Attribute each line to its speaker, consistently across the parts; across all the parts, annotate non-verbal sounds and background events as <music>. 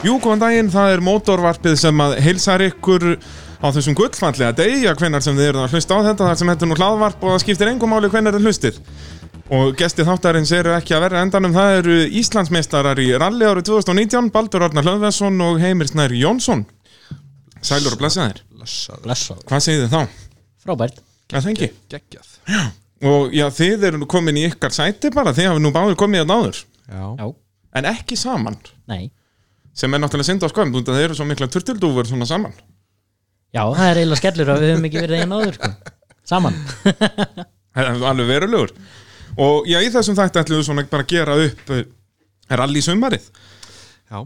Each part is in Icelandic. Speaker 1: Jú, góðan daginn, það er mótorvarpið sem að heilsar ykkur á þessum gullfallega degja hvenar sem þið eru að hlusta á þetta þar sem þetta er nú hlaðvarp og það skiptir engum máli hvenar þið hlustir og gesti þáttarins eru ekki að vera endanum það eru Íslandsmeistarar í ralli árið 2019 Baldur Arnar Hlöðvesson og Heimir Snær Jónsson Sælur og blessaðir
Speaker 2: Blessað
Speaker 1: Hvað segir þið þá?
Speaker 2: Frábært
Speaker 1: Já, þengi
Speaker 3: geggjað
Speaker 1: Og já, þið eru nú komin í ykkar sæti bara þið hafi nú báður komið að náður
Speaker 3: Já,
Speaker 2: Já,
Speaker 1: en ekki saman
Speaker 2: nei
Speaker 1: sem er náttúrulega synd á skoðum þú veist að þið eru svo mikla turtildúfur svona saman
Speaker 2: Já, það er eiginlega skellur að við höfum ekki verið einn áður sko. Saman
Speaker 1: Það er alveg verulegur og já, í þessum þætti ætlum við svona bara að gera upp eh, rally sumarið
Speaker 3: já,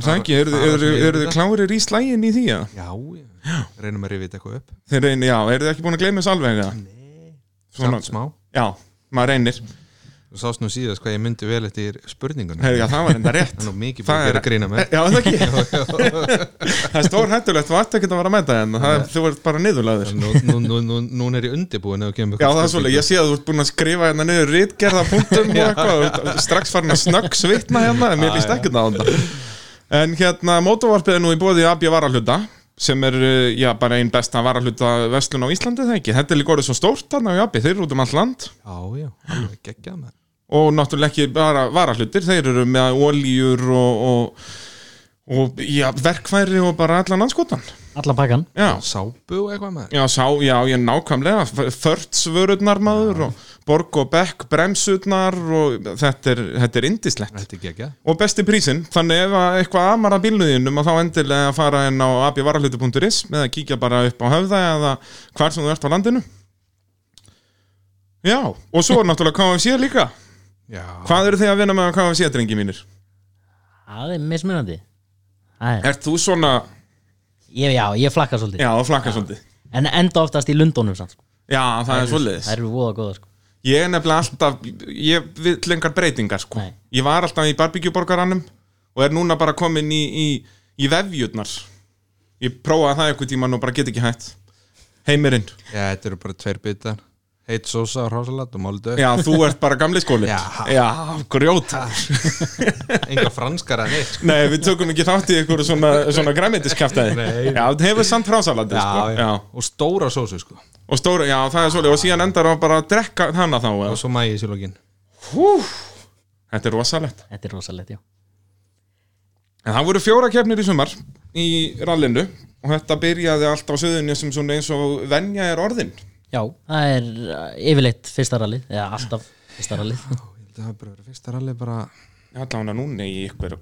Speaker 1: er það ekki, eru
Speaker 3: það
Speaker 1: er,
Speaker 3: er
Speaker 1: er,
Speaker 3: það sem
Speaker 1: er,
Speaker 3: ég-
Speaker 1: þið klárir í slægin í því að
Speaker 3: já, reynum að rifið þetta eitthvað upp
Speaker 1: þeir reynir, já, eru þið ekki búin að gleyma þessu alveg eða?
Speaker 3: Samt smá,
Speaker 1: já, maður reynir
Speaker 3: þú sást nú síðast hvað ég myndi vel eftir spurningunum
Speaker 1: Heri, já, það var enda rétt
Speaker 3: Það er
Speaker 1: <laughs>
Speaker 3: nú mikið
Speaker 1: Það
Speaker 3: búið
Speaker 1: er-
Speaker 3: að
Speaker 1: Eh.
Speaker 3: gera grína með
Speaker 1: já, er það ekki
Speaker 3: <laughs>
Speaker 1: <laughs> það er stór hættulegt, þú ætti ekki að vera að mæta hérna það er, þú ert bara niðurlaður
Speaker 3: Nú, nú, nú, nú, nú er ég undirbúin ef þú
Speaker 1: Já,
Speaker 3: kemur eitthvað
Speaker 1: það er svolítið,
Speaker 3: spurningu.
Speaker 1: ég sé að þú ert búin að skrifa hérna niður rítgerða punktum og eitthvað, og þú ert strax farin að snögg svitna hérna, en mér líst ekki það á þetta. En hérna, mótovarpið er nú í bóði Abja Varahluta, sem er, uh, já, bara einn besta varahluta vestlun á Íslandi, það ekki? Þetta er líka orðið svo stórt þarna á Abja, þeir eru út um allt land
Speaker 3: Já, já, alveg geggjað með
Speaker 1: og náttúrulega ekki bara varahlutir, þeir eru með olíur og, og, og já, verkfæri og bara allan anskotan.
Speaker 2: Allan pakkan
Speaker 1: Já.
Speaker 3: Sápu og eitthvað með
Speaker 1: Já, sá, já, ég nákvæmlega Förtsvörurnar maður og Borg og Beck, bremsurnar og þetta er, þetta er indislegt
Speaker 3: Þetta er geggjað
Speaker 1: og besti prísinn, þannig ef að eitthvað amar að bílnuðinum að þá endilega að fara inn á abjavarahlutu.is með að kíkja bara upp á höfða eða hvar sem þú ert á landinu Já, og svo er náttúrulega KFC líka
Speaker 3: Já,
Speaker 1: Hvað eru þið að vinna með á KFC, drengi mínir?
Speaker 2: Það er mismunandi Það er,
Speaker 1: Ert þú svona,
Speaker 2: ég, Já, ég flakka svolítið
Speaker 1: já, flakka svolítið
Speaker 2: En enda oftast í Lundunum samt sko.
Speaker 1: Já, það er svolítið
Speaker 2: Það eru voða góða sko.
Speaker 1: Ég er nefnilega alltaf, ég vil lengar breytingar sko
Speaker 2: Nei.
Speaker 1: Ég var alltaf í barbíkjuborgarannum og er núna bara komin í, í, í vefjurnar Ég prófaði það eitthvað tíman og bara get ekki hætt Heimirinn
Speaker 3: já þetta eru bara tveir bitar Heit sósa og rásalat og máldu
Speaker 1: Já, þú ert bara gamli skólinn
Speaker 3: Já.
Speaker 1: Já grjóta
Speaker 3: Ah. Enga franskara en eitt sko.
Speaker 1: Nei, við tökum ekki þátt í ykkur svona, svona græmyndiskjaftaði
Speaker 3: Nei.
Speaker 1: Já, þetta hefur samt frásalandi sko.
Speaker 3: Og stóra sósu sko
Speaker 1: Og stóra, já, það er svolítið Og síðan endar á bara að drekka hana þá
Speaker 3: Og
Speaker 1: eða?
Speaker 3: svo mægis í lokin
Speaker 1: Hú, Þetta er rosalegt
Speaker 2: Þetta er rosalegt, já
Speaker 1: En það voru fjóra keppnir í sumar í rallinu og þetta byrjaði allt á söðunni sem svona eins og venja er orðin.
Speaker 2: Já, það er uh, yfirleitt fyrsta rallið Eða alltaf fyrsta rallið
Speaker 3: Það er bara verið fyrsta rally bara
Speaker 1: Allan að núna í ykkur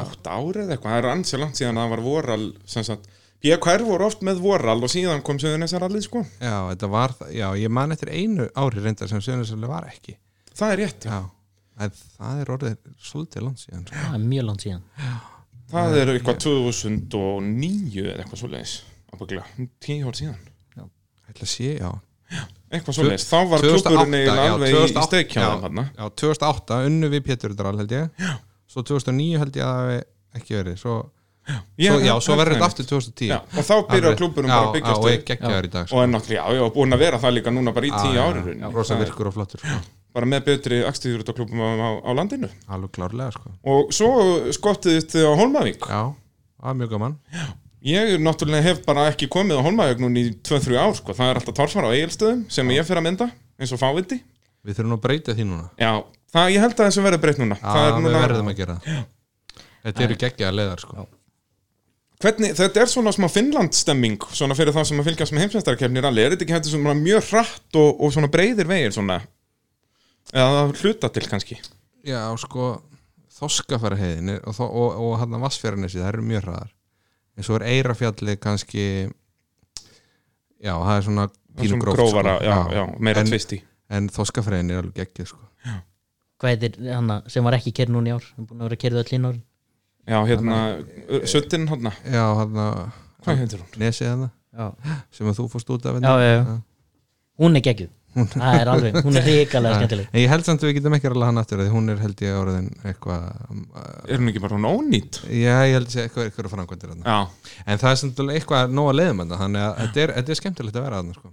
Speaker 1: átt árið eða eitthvað, það er ansið langt síðan að það var voral, sem sagt, PKR voru oft með voral og síðan kom söðunni þessar rallið sko.
Speaker 3: Já, þetta var það, já, ég man eftir einu ári reyndar sem Suðurnesjalli var ekki
Speaker 1: Það er rétt, já.
Speaker 3: Já, en það er orðið svolítið langt síðan sko.
Speaker 2: Það er mjög langt síðan
Speaker 1: Það er eitthvað 2009 eða eitthvað svoleiðis, ábygglega, tíu ár síðan.
Speaker 3: Ætla að sé, já
Speaker 1: Eitthvað svoleiðis, þá var klúburinn eiginlega alveg í- í steikjáðum hann.
Speaker 3: já, já, 2008 unnu við Pétur Dral held ég já. Svo 2009 held ég að það hafi ekki verið Svo, já, svo, já, svo verður þetta aftur 2010
Speaker 1: Já, og þá byrjar klúburinn bara að
Speaker 3: Já,
Speaker 1: byggjast
Speaker 3: og
Speaker 1: upp.
Speaker 3: ekki ekki í dag sko.
Speaker 1: og er náttúrulega, já, já, búin að vera það líka núna bara í tíu ári
Speaker 3: já,
Speaker 1: rauninni.
Speaker 3: Rosa
Speaker 1: Það er
Speaker 3: virkur og flottur sko.
Speaker 1: bara með betri axtíðurutaklubum á, á, á landinu
Speaker 3: Alveg klárlega sko.
Speaker 1: og svo skottið þitt á Holmavík
Speaker 3: Já, það er mjög gaman
Speaker 1: ég náttúrulega hef bara ekki komið á Holmavík núna í 2-3 ár, sko. það er alltaf torfara á eigilstöðum sem ég fer að mynda eins og fáviti
Speaker 3: Við þurfum að breyta því núna
Speaker 1: já, það, ég held að þessu verður breytt núna Það
Speaker 3: Já,
Speaker 1: er
Speaker 3: við
Speaker 1: núna-
Speaker 3: verðum að gera það Þetta eru geggjaða leiðar sko.
Speaker 1: hvernig, þetta er svona smá Finnlandstemming svona fyrir þá sem að fylgjast með heimsveistarkefni rally, er þetta ekki hættu svona mjög hratt og, og svona breyðir vegir svona eða að hluta til kannski
Speaker 3: Já, sko Þorskafarheiðin og, þó- og, og hann að Vassfjörnissi, það eru mjög hraðar en svo er Eirafjalli kannski já, það er svona
Speaker 1: Það er
Speaker 3: pínu
Speaker 1: svona
Speaker 3: gróft,
Speaker 1: grófara,
Speaker 3: sko.
Speaker 1: já, já, meira
Speaker 3: en,
Speaker 1: tvisti
Speaker 3: en Þorskafarheiðin er alveg geggið sko.
Speaker 2: Hvað heitir hann sem var ekki kerð núna í ár Hann er búin að vera kerðu öll hinn árin
Speaker 1: já, hérna, söttin hana
Speaker 3: Já, hann að
Speaker 1: hvað heitir hún?
Speaker 3: Nesið hann
Speaker 2: Já,
Speaker 3: sem að þú fórst út af
Speaker 2: já,
Speaker 3: hérna.
Speaker 2: já, já. Hún er geggjuð Það er alveg, hún er ríkalega skemmtileg
Speaker 3: En ég held samt að við getum ekki að hann aftur af því hún er held ég orðin eitthvað uh,
Speaker 1: er hún ekki bara hún ónýtt?
Speaker 3: já, ég held að sé eitthvað eitthvað frangvæntir hann
Speaker 1: Já,
Speaker 3: En það er samt alveg eitthvað nóg að leiðum þetta þannig að þetta er, þetta er skemmtilegt að vera þarna sko.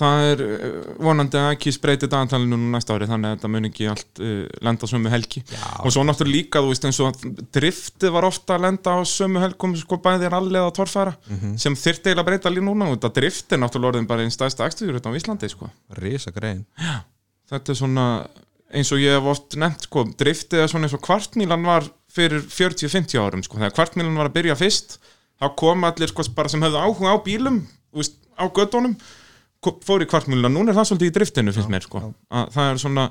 Speaker 1: það er eh, vonandi að ekki spreyti dagantalinu núna næsta ári þannig að þetta mun ekki allt uh, lenda á sömu helgi
Speaker 3: Já.
Speaker 1: og svo náttúrulega líka þú veist eins og að driftið var ofta að lenda á sömu helgum sko bæði rallið að torfæra sem þyrfti eiginlega að breyta líka núna og þetta drift er náttúrulega orðin bara einn stæðsta akstuður á Íslandi sko
Speaker 3: Rísa grein
Speaker 1: þetta er svona eins og ég hef oft nefnt sko, driftið er svona eins og kvartmílan var fyrir 40-50 árum sko, þegar kvartmílan var að byrja fyrst þá kom allir sko bara sem höfðu áhuga á bílum þú veist, á göttunum fór í kvartmílan, núna er það svolítið í driftinu finnst mér sko, að það er svona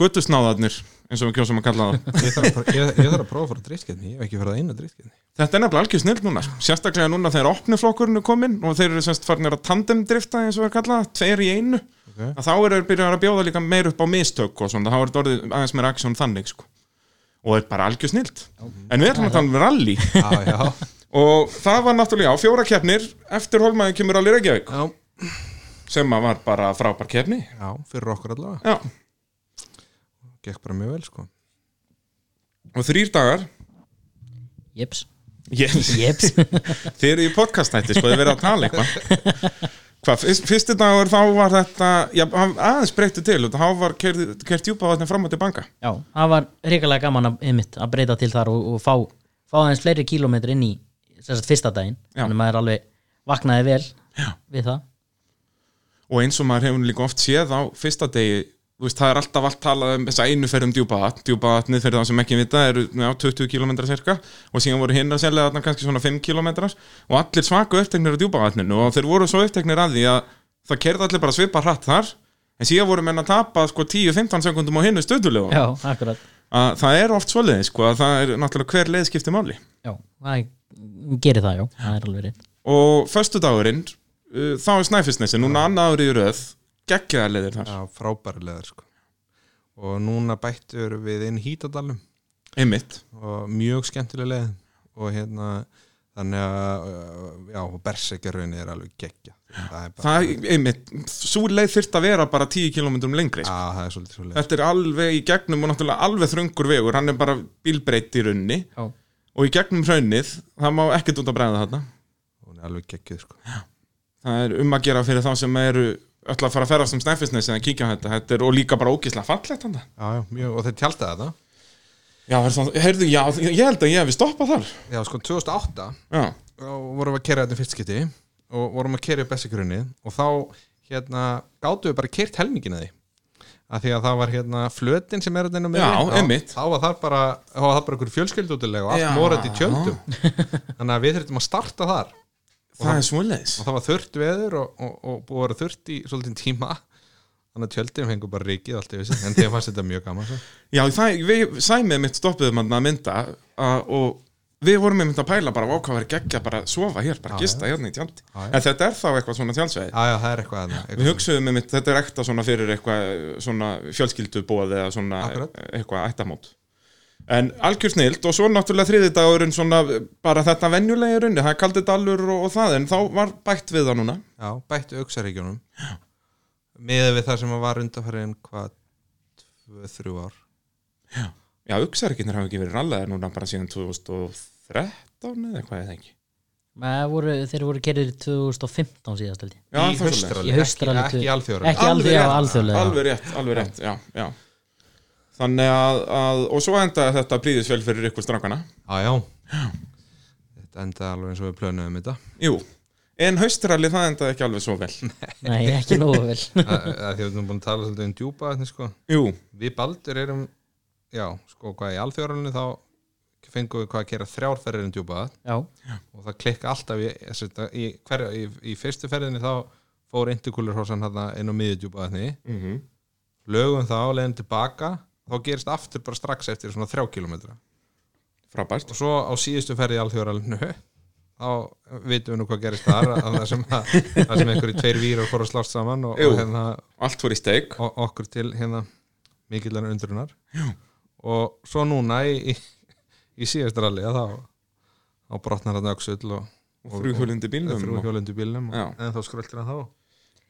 Speaker 1: göttusnáðarnir, eins og við kjósum að kalla það
Speaker 3: Ég þarf að, prófa- ég, ég þarf að prófa að fara að driftsketni Ég hef ekki farið að eina driftsketni
Speaker 1: Þetta er nefnilega algjör snill núna, sko. sérstaklega núna þegar opniflokkurinn er kominn og þeir eru semst farnir að tandemdrifta eins og er kallað, tveir í einu
Speaker 3: Ok.
Speaker 1: að þá eru þeir byrjar að bjóða líka meir upp á mistök og svona, þá er þetta orðið aðeins meira aksjón þannig sko. og er bara algjör snilt en við erum að tala um rally
Speaker 3: Já, já,
Speaker 1: og það var náttúrulega á fjóra keppnir eftir Holmaði kemur allir Reykjavík
Speaker 3: já,
Speaker 1: sem að var bara frábær keppni
Speaker 3: já Fyrir okkur allavega
Speaker 1: Já.
Speaker 3: Gekk bara mjög vel sko
Speaker 1: og þrýr dagar
Speaker 2: Jeps
Speaker 1: yes.
Speaker 2: Jeps
Speaker 1: Þið eru í podcastnætti, sko, þið verið að tala eitthvað Hvað, fyrst, fyrsti dagur þá var þetta, já, hann aðeins breyttu til og þá var kert djúpa vatni fram og tilbaka
Speaker 2: Já, það var hrikalega gaman að, einmitt, að breyta til þar og, og fá, fá aðeins fleiri kílómetri inn í sem sagt, fyrsta daginn
Speaker 1: Já.
Speaker 2: þannig að maður alveg vaknaði vel
Speaker 1: Já.
Speaker 2: við það
Speaker 1: og eins og maður hefur líka oft séð á fyrsta degi, þú veist, það er alltaf allt talað um þessa einu ferð um djúpa vatn djúpa vatni fyrir það sem ekki vita, eru já, 20 km cirka og síðan voru hinn að selja þarna kannski svona 5 km og allir svaku uppteknir á djúpa vatninu og þeir voru svo uppteknir að því að það kerði allir bara svipa hratt þar en síðan voru menn að tapa sko 10-15 sekundum á hinnu stöðulegu
Speaker 2: Já, akkurat
Speaker 1: að það er oft svoleiðis sko, að það er náttúrulega hver leið skipti máli
Speaker 2: Já, það er- gerir það, já, það er alveg rétt
Speaker 1: og föstudagurinn uh, þá er Snæfisnesi, núna annað árið í röð geggjaðar leiðir þar,
Speaker 3: Já, frábæri leðar sko Og núna bættur við inn hítadalum
Speaker 1: einmitt
Speaker 3: og mjög skemmtileg leið og hérna þannig að uh, já, og berserkjarraun er alveg geggja það er bara
Speaker 1: það, er- einmitt, svo leið þyrft að vera bara 10 km lengri, sko.
Speaker 3: Já, það er svolítið svo leið
Speaker 1: þetta er alveg í gegnum og náttúrulega alveg þröngur vegur, hann er bara bílbreytt í runni
Speaker 2: Já,
Speaker 1: og í gegnum hraunnið, það má ekkert út að bregða þarna
Speaker 3: hún er alveg geggjuð sko
Speaker 1: það er um að gera fyrir þá sem eru öll að fara að ferðast um Snæfisnesi að kíkja á þetta, þetta er, og líka bara ógislega fallegt hann
Speaker 3: já, já, mjög, og þeir tjáltaði þetta
Speaker 1: Já, er það, heyrðu, já, ég held að ég hefði stoppað þar
Speaker 3: já, sko 2008
Speaker 1: Já,
Speaker 3: þá vorum við að kera þetta í fyrst skipti og vorum að kera í berserkjarraunni og þá hérna gátu við bara kert helmingin að því að því að það var hérna flötin sem er þetta
Speaker 1: Já, einmitt.
Speaker 3: þá var það bara, þá var það bara einhver fjölskyldutilega og
Speaker 1: Já.
Speaker 3: allt morandi í tjöldum þannig að við þurftum að starta þar
Speaker 1: það er svoleiðis
Speaker 3: og það var þurrt veður og, og, og búið að vera þurrt í svolítinn tíma þannig að tjöldin fengur bara rikið allt yfir sig en þeim fannst þetta mjög gaman svo.
Speaker 1: Já, það, við sæmið mitt stoppuðum að mynda að, og við vorum einmitt að pæla bara vákvað verið geggja bara að sofa hér, bara gista hérna í tjaldi
Speaker 3: Já, já.
Speaker 1: En þetta er þá eitthvað svona tjaldsvegi
Speaker 3: já já það er eitthvað þarna,
Speaker 1: Við
Speaker 3: eitthvað
Speaker 1: hugsuðum einmitt, þetta er ekta svona fyrir eitthvað svona fjölskyldubóð eða svona
Speaker 3: Akkurat.
Speaker 1: eitthvað ættamót En algjör snilt og svo náttúrulega þriði dagurinn svona bara þetta venjulega í runni, það er kaldið dalur og, og það en þá var bætt við það núna
Speaker 3: já, bættu auksaríkjónum miðað við það sem var undanfærin hvað tvö, þrjú ár
Speaker 1: Já, uksarkinnir hafa ekki verið rallaðir núna bara síðan 2013 eða hvað ég þengi
Speaker 2: Maður voru, þeir voru kerir 2015 síðast <laughs> held ég
Speaker 1: Já,
Speaker 3: í
Speaker 1: það er svoleiðis.
Speaker 3: haustrali,
Speaker 2: Í haustrali tvö-
Speaker 3: ekki, ekki alþjóra
Speaker 2: Ekki alveg á
Speaker 1: rétt,
Speaker 2: alþjóðlega
Speaker 1: Alveg rétt, alveg rétt, já, já Þannig að, að og svo endaði þetta príðisvel fyrir ykkur strákana
Speaker 3: já, já þetta enda alveg eins og við plönuðum um þetta
Speaker 1: Jú, en haustralli það endaði ekki alveg svo vel
Speaker 2: Nei, ekki nógu vel
Speaker 3: Að- að því að við erum búin að tala svolítið um djúpa þetta, sko.
Speaker 1: Jú,
Speaker 3: við baldur erum já, sko, hvað í alþjóralinu þá fengum við hvað að gera þrjárferðir um djúpa
Speaker 2: Já,
Speaker 3: og það klikka alltaf í, þessi- í, hver, í, í fyrstu ferðinni þá fór intercoolerhossan hérna inn á miðjudjúpa þarna í.
Speaker 1: mm
Speaker 3: lögum þá, leiðin tilbaka þá gerist aftur bara strax eftir svona þrjá kilometra
Speaker 1: frábært
Speaker 3: og svo á síðustu ferði alþjóðaralinu þá vitum við nú hvað gerist þar að það sem, að, það sem einhverju tveir vírar fór að slást saman og,
Speaker 1: Jú.
Speaker 3: og, hérna,
Speaker 1: Allt fór í steik
Speaker 3: og okkur til hérna mikillar undrunar Jú. og svo núna í, í, í síðustu ralli að þá, þá brotnar hann öksull og,
Speaker 1: og frúhjólundi bílnum
Speaker 3: þrjú
Speaker 1: og-
Speaker 3: hjólundu bílnum
Speaker 1: Já.
Speaker 3: og, en þá skröldir hann þá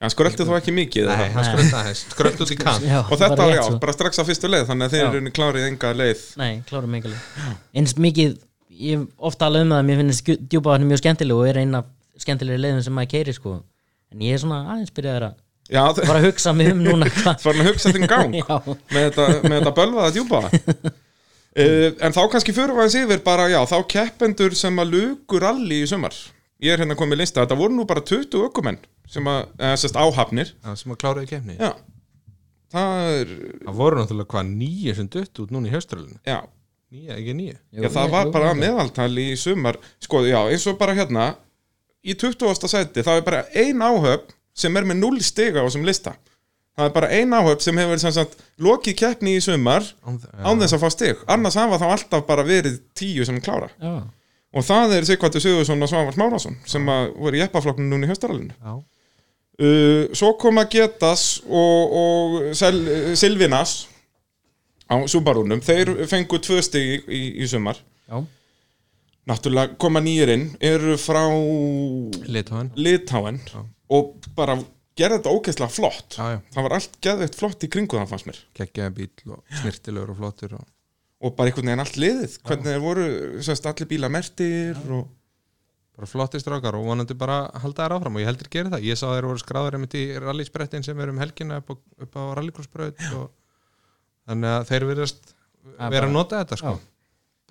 Speaker 1: En skröldi þó ekki mikið
Speaker 3: Nei,
Speaker 1: eða?
Speaker 3: hann skröldi
Speaker 2: <laughs>
Speaker 3: aðeins, skröldi út í kant
Speaker 2: já
Speaker 1: Og þetta,
Speaker 2: bara rétt sko.
Speaker 1: já,
Speaker 2: svo.
Speaker 1: bara strax á fyrstu leið Þannig að þeir
Speaker 2: Já.
Speaker 1: eru klárið enga leið
Speaker 2: Nei, klára mig alveg Eins mikið, ég hef ofta alveg um það Mér finnst djúpaðarnir mjög skemmtileg og er eina skemmtilegri leiðin sem maður keiri sko En ég er svona aðeins byrjaður að
Speaker 1: Já, það
Speaker 2: bara að hugsa mig um
Speaker 1: <laughs>
Speaker 2: núna hvað
Speaker 1: var hann að hugsa þinn gang
Speaker 2: Já,
Speaker 1: með þetta, með þetta bölvaða djúpa uh, en þá kannski fyrir aðeins yfir bara, já, þá keppendur sem að lukur alli í sumar ég er hérna komið lista, þetta voru nú bara 20 ökumenn sem að, eða sérst áhafnir
Speaker 3: Já, sem að kláraði kemni
Speaker 1: já, það er
Speaker 3: það voru náttúrulega hvað nýja sem dutt út núna í haustralinu
Speaker 1: já,
Speaker 3: nýja, ekki nýja
Speaker 1: já, það var bara meðaltal í sumar sko, já, eins og bara hérna í 20. seti, það er bara ein áhöfn sem er með 0 stiga á þessum lista það er bara ein áhöfn sem hefur sem sagt, lokið keppni í sumar
Speaker 3: Án þ-
Speaker 1: án þess að fá stig annars hafa þá alltaf bara verið tíu sem klára
Speaker 2: já,
Speaker 1: og það er Sigvartur Sigurðsson og Svavars Márásson sem að voru í eppaflokknum núna í höstaralinu
Speaker 3: já,
Speaker 1: uh, svo kom að Getas og, og Sel, Silvinas á Subarunum þeir fengu tvö stig í, í sumar
Speaker 2: já,
Speaker 1: náttúrulega koma nýjir inn eru frá
Speaker 3: litóðan
Speaker 1: Litáen og bara gerði þetta ógeðslega flott
Speaker 3: já, já,
Speaker 1: það var allt geðveitt flott í kringu það fannst mér
Speaker 3: kekkjaði bíl og snirtilegur og flottur og
Speaker 1: og bara einhvern veginn allt liðið hvernig þeir voru, sérst, allir bíla mertir og
Speaker 3: bara flottir strákar og vonandi bara halda þær áfram og ég heldur gera það, ég sá að þeir voru skráður einmitt í rallysbrettin sem er um helgina upp á, upp á rallycrossbraut og þannig að þeir virðast
Speaker 2: Það er
Speaker 3: vera
Speaker 2: bara-
Speaker 3: að nota þetta sko
Speaker 2: Já.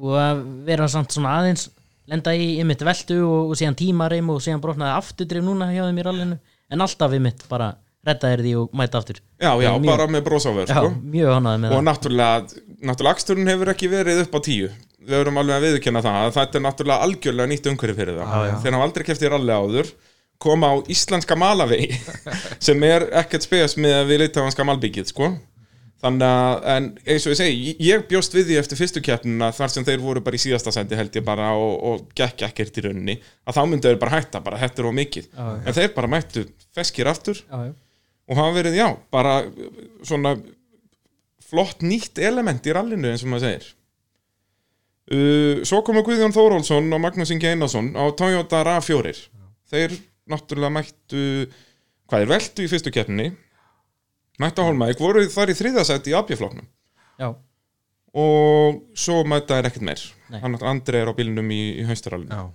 Speaker 2: búið að vera samt svona aðeins lenda í ymmit veltu og, og síðan tímarim og síðan brotnaði afturdrif núna hjá þeim í rallinu en alltaf ymmit bara redda þér því og mæta aftur
Speaker 1: Já, já,
Speaker 2: Mjög-
Speaker 1: bara með brósáver
Speaker 2: já,
Speaker 1: sko.
Speaker 2: mjög hanaði með
Speaker 1: og
Speaker 2: það
Speaker 1: náttúrulega, náttúrulega aksturinn hefur ekki verið upp á tíu við erum alveg að viðurkenna það að þetta er náttúrulega algjörlega nýtt umhverfi fyrir það
Speaker 3: Já, já.
Speaker 1: þeir hafa aldrei keftir allir áður koma á íslenska
Speaker 2: <laughs>
Speaker 1: malavegi sem er ekkert spes með að við leita hanska malbyggið sko þannig að, en eins og ég segi ég bjóst við því eftir fyrstu keppnina þar sem þeir voru bara í síðasta sendi held ég bara og, og gekk ekkert í rauninni að þá myndu þeir bara hætta, bara hættur og mikið
Speaker 2: Já,
Speaker 1: en þeir bara mættu feskir aftur
Speaker 2: já, já.
Speaker 1: og hafa verið, já, bara uh, svona flott nýtt element í rallinu eins og maður segir uh, Svo komu Guðjón Þórólfsson og Magnús Ingi Einarsson á Toyota RAV4 þeir náttúrulega mættu hvað er veltu í fyrstu keppninni mættu á Holmæk, voru þar í þriðasætt í abjafloknum
Speaker 2: já,
Speaker 1: og svo mæta er ekkert meir
Speaker 2: Nei.
Speaker 1: hann Andri er á bílnum í, í haustarallinu
Speaker 3: Já.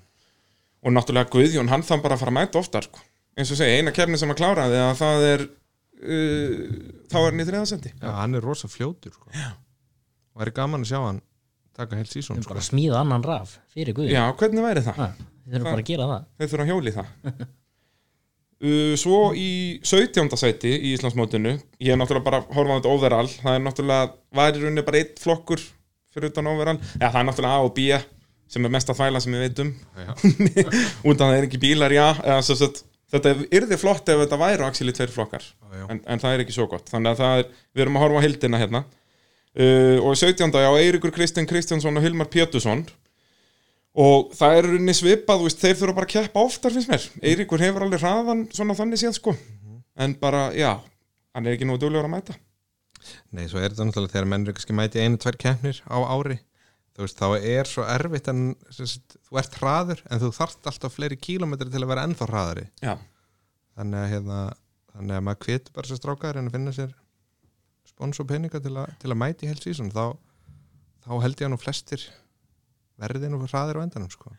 Speaker 1: og náttúrulega Guðjón, hann þann bara að fara að mæta oftar sko. eins og segja, eina keppni sem að klára því að það er uh, þá er hann í þriðasendi
Speaker 3: Já, hann er rosa fljótur sko. og er gaman að sjá hann taka heilt sísón
Speaker 2: þeim
Speaker 3: sko.
Speaker 2: bara smíða annan raf fyrir guði
Speaker 1: Já, hvernig væri það?
Speaker 2: Ha, þið þurfum bara að gera það
Speaker 1: Þeir þurfa að hjóli það <laughs> uh, Svo í 17. sæti í Íslandsmótinu Ég er náttúrulega bara horfað á þetta overall Það er náttúrulega, var í rauninni bara einn flokkur fyrir utan overall Já, það er náttúrulega A og B sem er mesta þvæla sem ég veit um
Speaker 3: Já.
Speaker 1: <laughs> Út af það er ekki bílar, já eða, sem sagt, Þetta yrði flott ef þetta væru axil í tveir flokkar
Speaker 3: Já, já.
Speaker 1: en, en það er ekki svo gott þannig að það er, við erum að horfa á hildina hérna uh, og 17. á Eiríkur Kristinn Kristjánsson og Hilmar Pétursson og það er í rauninni svipað, þú veist, þeir þurfa bara að keppa oftar finnst mér,
Speaker 2: Mhm.
Speaker 1: Eiríkur hefur alveg hraðan svona þannig séð sko, en bara já, hann er ekki nú duglegur að mæta
Speaker 3: Nei, svo er þetta náttúrulega þegar menn eru kannski mæti einu, tvær keppnir á ári þú veist, þá er svo erfitt en sem sagt, þú ert hraður en þú þarft alltaf fleiri kílómetri til að vera ennþá hraðari
Speaker 1: já,
Speaker 3: þannig að, hérna, þannig að maður kvitur bara sér strákar en að finna sér spons og peninga til, að til að mæti heilt sísón þá, þá held ég að nú flestir verði nú hraðir á endanum sko.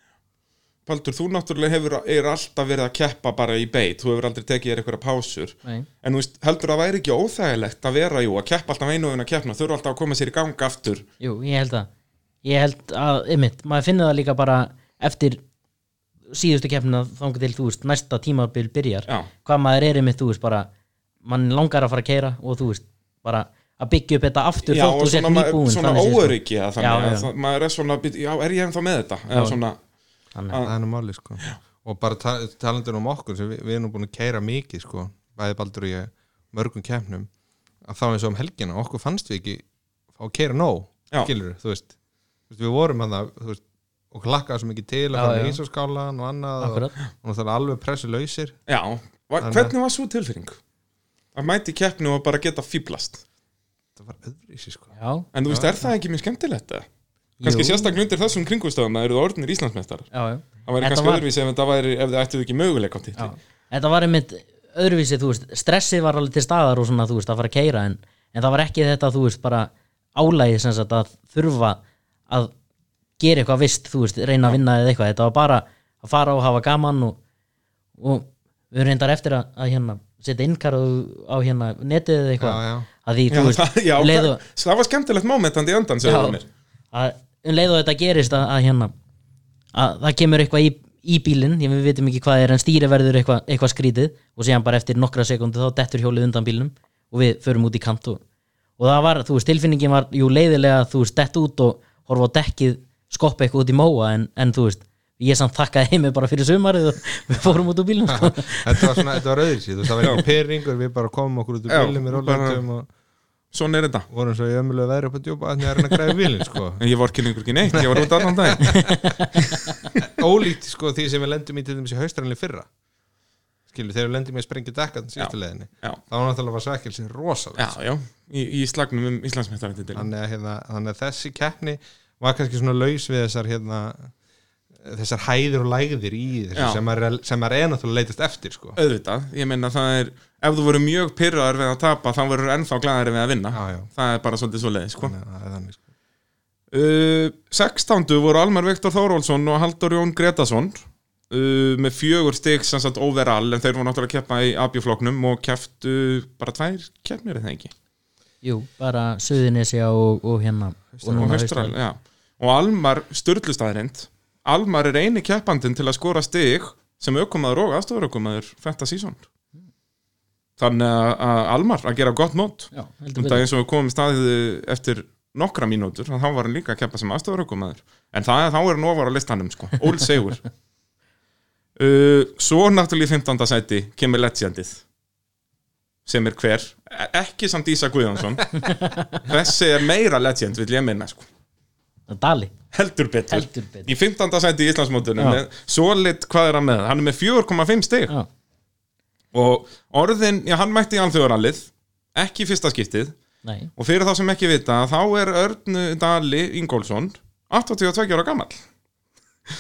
Speaker 1: Paldur, þú náttúrulega hefur er alltaf verið að keppa bara í beit, þú hefur aldrei tekið þér einhverja pásur
Speaker 2: Nei.
Speaker 1: en þú veist, heldur það væri ekki óþægilegt að vera, jú, að keppa alltaf einu og einu að keppna, þurfa alltaf að koma sér í gang aftur
Speaker 2: Jú, ég held að ég held að, ymmit, maður finnur það líka bara eftir síðustu keppnina þangar til, þú veist, næsta tímabil byrjar,
Speaker 1: Já.
Speaker 2: hvað maður er ymmit, þú veist, bara mann langar að fara að keira og þú veist, bara að byggja upp þetta aftur
Speaker 1: já,
Speaker 2: þótt
Speaker 1: og
Speaker 2: þú sért
Speaker 1: svona, ma-
Speaker 2: nýbúin
Speaker 1: svona
Speaker 2: þannig séð, sko.
Speaker 1: óöryggi eða þannig
Speaker 2: Já,
Speaker 1: að
Speaker 2: já.
Speaker 1: það- maður er svona, být- já, er ég ennþá með þetta eða
Speaker 2: Já.
Speaker 1: svona,
Speaker 2: Þannig
Speaker 1: Ah.
Speaker 3: það er nú máli sko. og bara ta talandur um okkur sem við, við erum búin að keira mikið sko, bæði baldur og ég mörgum keppnum að þá eins og um helgina, okkur fannst við ekki fá að keira nóg,
Speaker 1: Já.
Speaker 3: skilur þú veist, þú veist við vorum hann það veist, og klakkaði svo mikið til að
Speaker 2: Já,
Speaker 3: fara
Speaker 2: já.
Speaker 3: í ísaskálan og annað
Speaker 2: Akkurat.
Speaker 3: og, og það er alveg pressu lausir
Speaker 1: já Va-
Speaker 3: Þannig að-
Speaker 1: hvernig var svo tilfinning? að mæti keppni og bara geta fýblast
Speaker 3: það var öðrísi sko
Speaker 2: Já,
Speaker 1: en þú veist, er það ekki mjög skemmtilegt eða? kannski
Speaker 2: Jú.
Speaker 1: sérstaklega undir þessum kringumstöðum að eru það orðnir Íslandsmeistar
Speaker 2: já, já.
Speaker 1: það væri
Speaker 2: Þetta
Speaker 1: kannski
Speaker 2: var-
Speaker 1: öðruvísi ef það væri ef það ættu ekki möguleik á
Speaker 2: Já.
Speaker 1: titli
Speaker 2: Þetta var einmitt öðruvísi, þú veist, stressið var alveg til staðar og svona, þú veist, að fara að keira en, en það var ekki þetta, þú veist, bara álægið sem sagt að þurfa að gera eitthvað vist, þú veist, reyna að vinna eða eitthvað, þetta var bara að fara og hafa gaman og, og við erum reyndar eftir að, að hérna setja innkarð á hérna netið eða
Speaker 3: já,
Speaker 2: eitthvað
Speaker 3: já,
Speaker 2: að því,
Speaker 1: Já,
Speaker 2: þú veist,
Speaker 1: það, <laughs> já,
Speaker 2: um leið og-
Speaker 1: það, það var skemmtilegt moment hann í andan, segðu
Speaker 2: Já.
Speaker 1: mér
Speaker 2: að um leið og þetta gerist að, að hérna að það kemur eitthvað í, í bílinn ég við vitum ekki hvað er en stýri verður eitthvað, eitthvað skrítið og síðan bara eftir nokkra sekundu þá dettur hjólið undan bílnum og við förum út í kant og, og það var, þú veist, tilfinningin var jú leiðilega að þú veist, dett út og horfa á dekkið skoppa eitthvað út í móa en, en þú veist, ég samt þakkaði heimi bara fyrir sumarið og <laughs> við fórum út úr bílnum sko.
Speaker 3: <laughs> þetta var svona, þetta var öðru síð
Speaker 1: <laughs>
Speaker 3: það var ekki pyrringur, við bara komum okkur út úr
Speaker 1: Já,
Speaker 3: bílum í
Speaker 1: bara-
Speaker 3: rólandum og
Speaker 1: Svona er þetta
Speaker 3: vorum svo í ömulega veðri upp að djúpa að það er hann að græða bílinn sko.
Speaker 1: En ég var kynningur ekki neitt, ég var út allan dag
Speaker 2: <laughs>
Speaker 3: ólíkt sko því sem við lendum í til dæmis í haustranli fyrra skilur, þegar við lendum í að sprengja dekkan síðustu leðinni,
Speaker 1: Já,
Speaker 3: þá var náttúrulega var svækkelsi rosalega,
Speaker 1: já, já, í, í slagnum um Íslandsmeistarvæntitil
Speaker 3: þannig að, hérna, þannig að þessi keppni var kannski svona laus við þessar hérna, þessar hæðir og lægðir í þessu
Speaker 1: Já.
Speaker 3: sem maður er- sem maður er náttúrulega leitast eftir sko.
Speaker 1: Auðvitað, ég meina það er Ef þú voru mjög pyrraðar við að tapa þá verður ennþá glæðari við að vinna
Speaker 3: já, já,
Speaker 1: Það er bara svolítið svoleiðis, sko
Speaker 3: þannig að það er þannig sko.
Speaker 1: Uh, 16. voru Almar Viktor Þórólfsson og Haldur Jón Gretason uh, með fjögur stig sem sagt overall en þeir voru náttúrulega að keppa í abjufloknum og keftu bara tvær keppnir eða ekki
Speaker 2: jú, bara Suðunesja og, og hérna og
Speaker 1: og,
Speaker 2: núna
Speaker 1: Austral,
Speaker 2: Austral.
Speaker 1: já. og Almar styrlustæðrind Almar er eini keppandinn til að skora stig sem aukomaður og aðstofaraukomaður þetta sísón þannig að- að Almar að gera gott mót
Speaker 2: Já, heldur
Speaker 1: Þetta
Speaker 2: betur.
Speaker 1: er eins og Um við komum í staðið eftir nokkra mínútur, þá var hann líka að keppa sem aðstofaraukumæður, en það, þá er hann ofar á listanum, sko, ól segur
Speaker 2: <laughs>
Speaker 1: uh, Svo náttúrulega í 15. sæti kemur legendið sem er hver E- ekki samt Ísa
Speaker 2: <laughs>
Speaker 1: Guðjónsson þessi er meira legend, vil ég minna sko.
Speaker 2: Dali,
Speaker 1: heldur betur
Speaker 2: heldur betur
Speaker 1: í 15. sæti í Íslandsmótunum
Speaker 2: Já.
Speaker 1: svo lit hvað er hann með, hann er með 4,5 stig
Speaker 2: Já,
Speaker 1: og orðin, já hann mætti í alþjóðarallið ekki í fyrsta skiptið
Speaker 2: nei,
Speaker 1: Og fyrir þá sem ekki vita, þá er Örn Dali Ingólfsson 82 ára gamall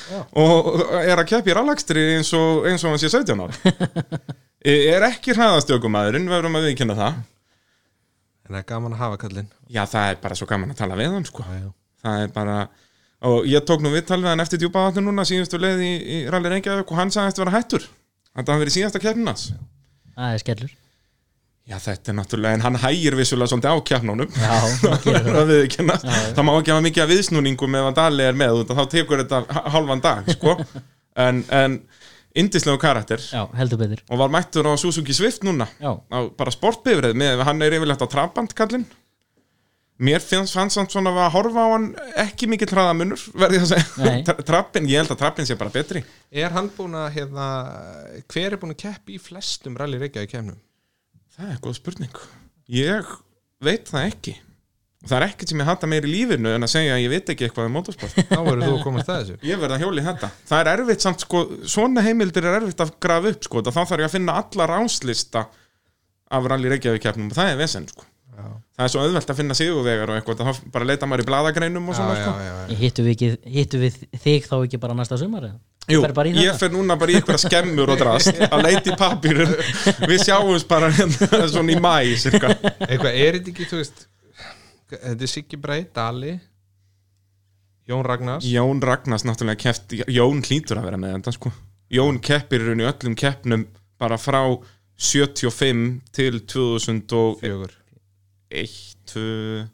Speaker 2: Já.
Speaker 1: og er að keppa í rálagstri eins og, eins og hann sé 17
Speaker 2: <laughs>
Speaker 1: ára er ekki hraðastjókumæðurinn, verðum að viðkynna það
Speaker 3: en það er gaman að hafa kallinn
Speaker 1: Já, það er bara svo gaman að tala við hann sko.
Speaker 3: já.
Speaker 1: það er bara og ég tók nú viðtal við hann eftir djúpaðatun núna síðustu leið í, í rallir Reykjavík og hann sagðist vera hættur þetta hafi verið síðasta keppnin hans
Speaker 2: það er skellur
Speaker 1: Já, þetta er náttúrulega, en hann hægir vissulega svolítið á keppnunum
Speaker 2: Já, það gerir það.
Speaker 1: það, viðurkennast. það má ekki hafa mikið af viðsnúningum ef að Dali er með út og þá tekur þetta h- hálfan dag sko. en, en indislegu karakter
Speaker 2: Já, heldur betur
Speaker 1: og var mættur á Suzuki Swift núna
Speaker 2: Já,
Speaker 1: á bara sportbifrið með, hann er yfirlegt á trabant kallinn mér finnst fannst hann svona að horfa á hann ekki mikið traðamunur verði ég að
Speaker 2: Nei.
Speaker 1: segja trappin, ég held að trappin sé bara betri
Speaker 3: er hann búin að hérna, hver er búin að keppi í flestum rally reykja í kemnum
Speaker 1: það er góð spurning ég veit það ekki það er ekkert sem ég hata meir í lífinu en að segja að ég veit ekki eitthvað um motorsport
Speaker 3: þá verður þú að komast að þessu
Speaker 1: Ég verð að hjóli þetta Það er erfitt samt sko, svona heimildir er erfitt að grafa upp sko, þá þarf ég að finna alla ráslista af rally Reykjavík keppnum og það er vesen sko.
Speaker 3: já,
Speaker 1: Það er svo auðvelt að finna sigurvegar og eitthvað þá bara leita maður í bladagreinum og
Speaker 3: já,
Speaker 1: svona
Speaker 3: já,
Speaker 1: sko.
Speaker 3: já, já.
Speaker 2: hittu við, ekki, hittu við þig þá ekki bara næsta sumar eða?
Speaker 1: Jú,
Speaker 2: Fer bara í
Speaker 1: ég
Speaker 2: þetta?
Speaker 1: fer núna bara í eitthvað skemmur og <laughs> drast að leita í papýrum Við sjáumst bara hérna <laughs> svona í mæ cirka.
Speaker 3: eitthvað er þetta ekki, þú veist þetta er Siggi Brei, Dali Jón Ragnars
Speaker 1: Jón Ragnars náttúrulega keft Jón hlýtur að vera með þetta sko. Jón keppir í raun í öllum keppnum bara frá 75 til 2004
Speaker 3: fjögur
Speaker 1: eitt, tvö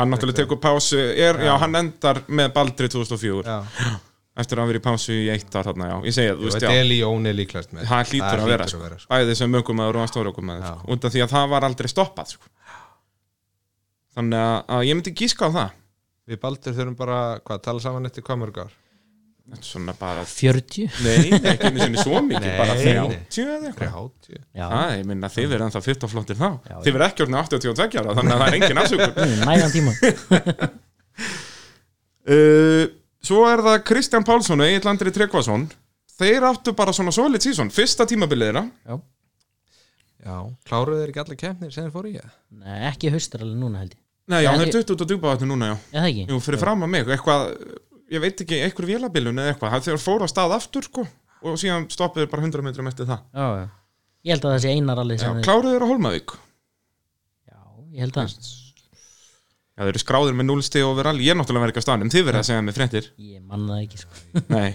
Speaker 1: hann náttúrulega tekur pásu er, já. hann endar með Baldri 2004
Speaker 3: já.
Speaker 1: eftir að hann verið í pásu í eitt ár þarna, já, ég segi það, þú veist,
Speaker 3: Veist,
Speaker 1: já
Speaker 3: Deli Jón er líklast með
Speaker 1: það hlýtur að vera, sko.
Speaker 3: vera sko.
Speaker 1: bæði sem mögumæður og aðstórukumæður,
Speaker 3: Já.
Speaker 1: sko. út af því að það var aldrei stoppað, sko þannig að, að ég myndi gíska á það
Speaker 3: við Baldur þurfum bara, hvað, tala saman eftir hvað mörg ár
Speaker 1: þetta er svona bara,
Speaker 2: 40?
Speaker 1: nei, ekki einu sinni svo mikið,
Speaker 3: Nei,
Speaker 1: bara
Speaker 3: nei.
Speaker 1: 30 eða eitthvað
Speaker 3: 30
Speaker 2: Já,
Speaker 1: Það, ég minna, þið verður ennþá fyrst og flottir þá
Speaker 2: Já,
Speaker 1: Þið verður ekki orðin 82 ára, þannig að það er engin afsökun
Speaker 2: nægan tíma
Speaker 1: Uh, svo er það Kristján Pálsson og Egil Andri Tryggvason þeir áttu bara svona solid season fyrsta tímabilið þeirra
Speaker 2: Já.
Speaker 3: já, kláruðu þeir ekki allir kemnir sem þeir fóru í það
Speaker 2: Nei, ekki haustralið núna held ég
Speaker 1: Nei, já,
Speaker 2: Nei,
Speaker 1: þeir
Speaker 2: ég-
Speaker 1: duttu út á djúpavatni núna, já
Speaker 2: Eða ekki?
Speaker 1: Jú, fyrir fram að mig, eitthvað ég veit ekki, einhver vélabilun eða eitthvað þeir fóru á stað aftur, sko og síðan stoppuðu bara 100 metrum eftir það
Speaker 2: Já, já Ég held að það sé einar alveg
Speaker 1: Já,
Speaker 2: sem þeir-
Speaker 1: kláruðu þeir á Holmavík Já,
Speaker 2: Já, ég held að
Speaker 1: þeir eru skráðir með 0 stig over all ég er náttúrulega verið ekki á staðnum, þið verið að segja mig fréttir
Speaker 2: Ég manna það ekki sko
Speaker 1: Nei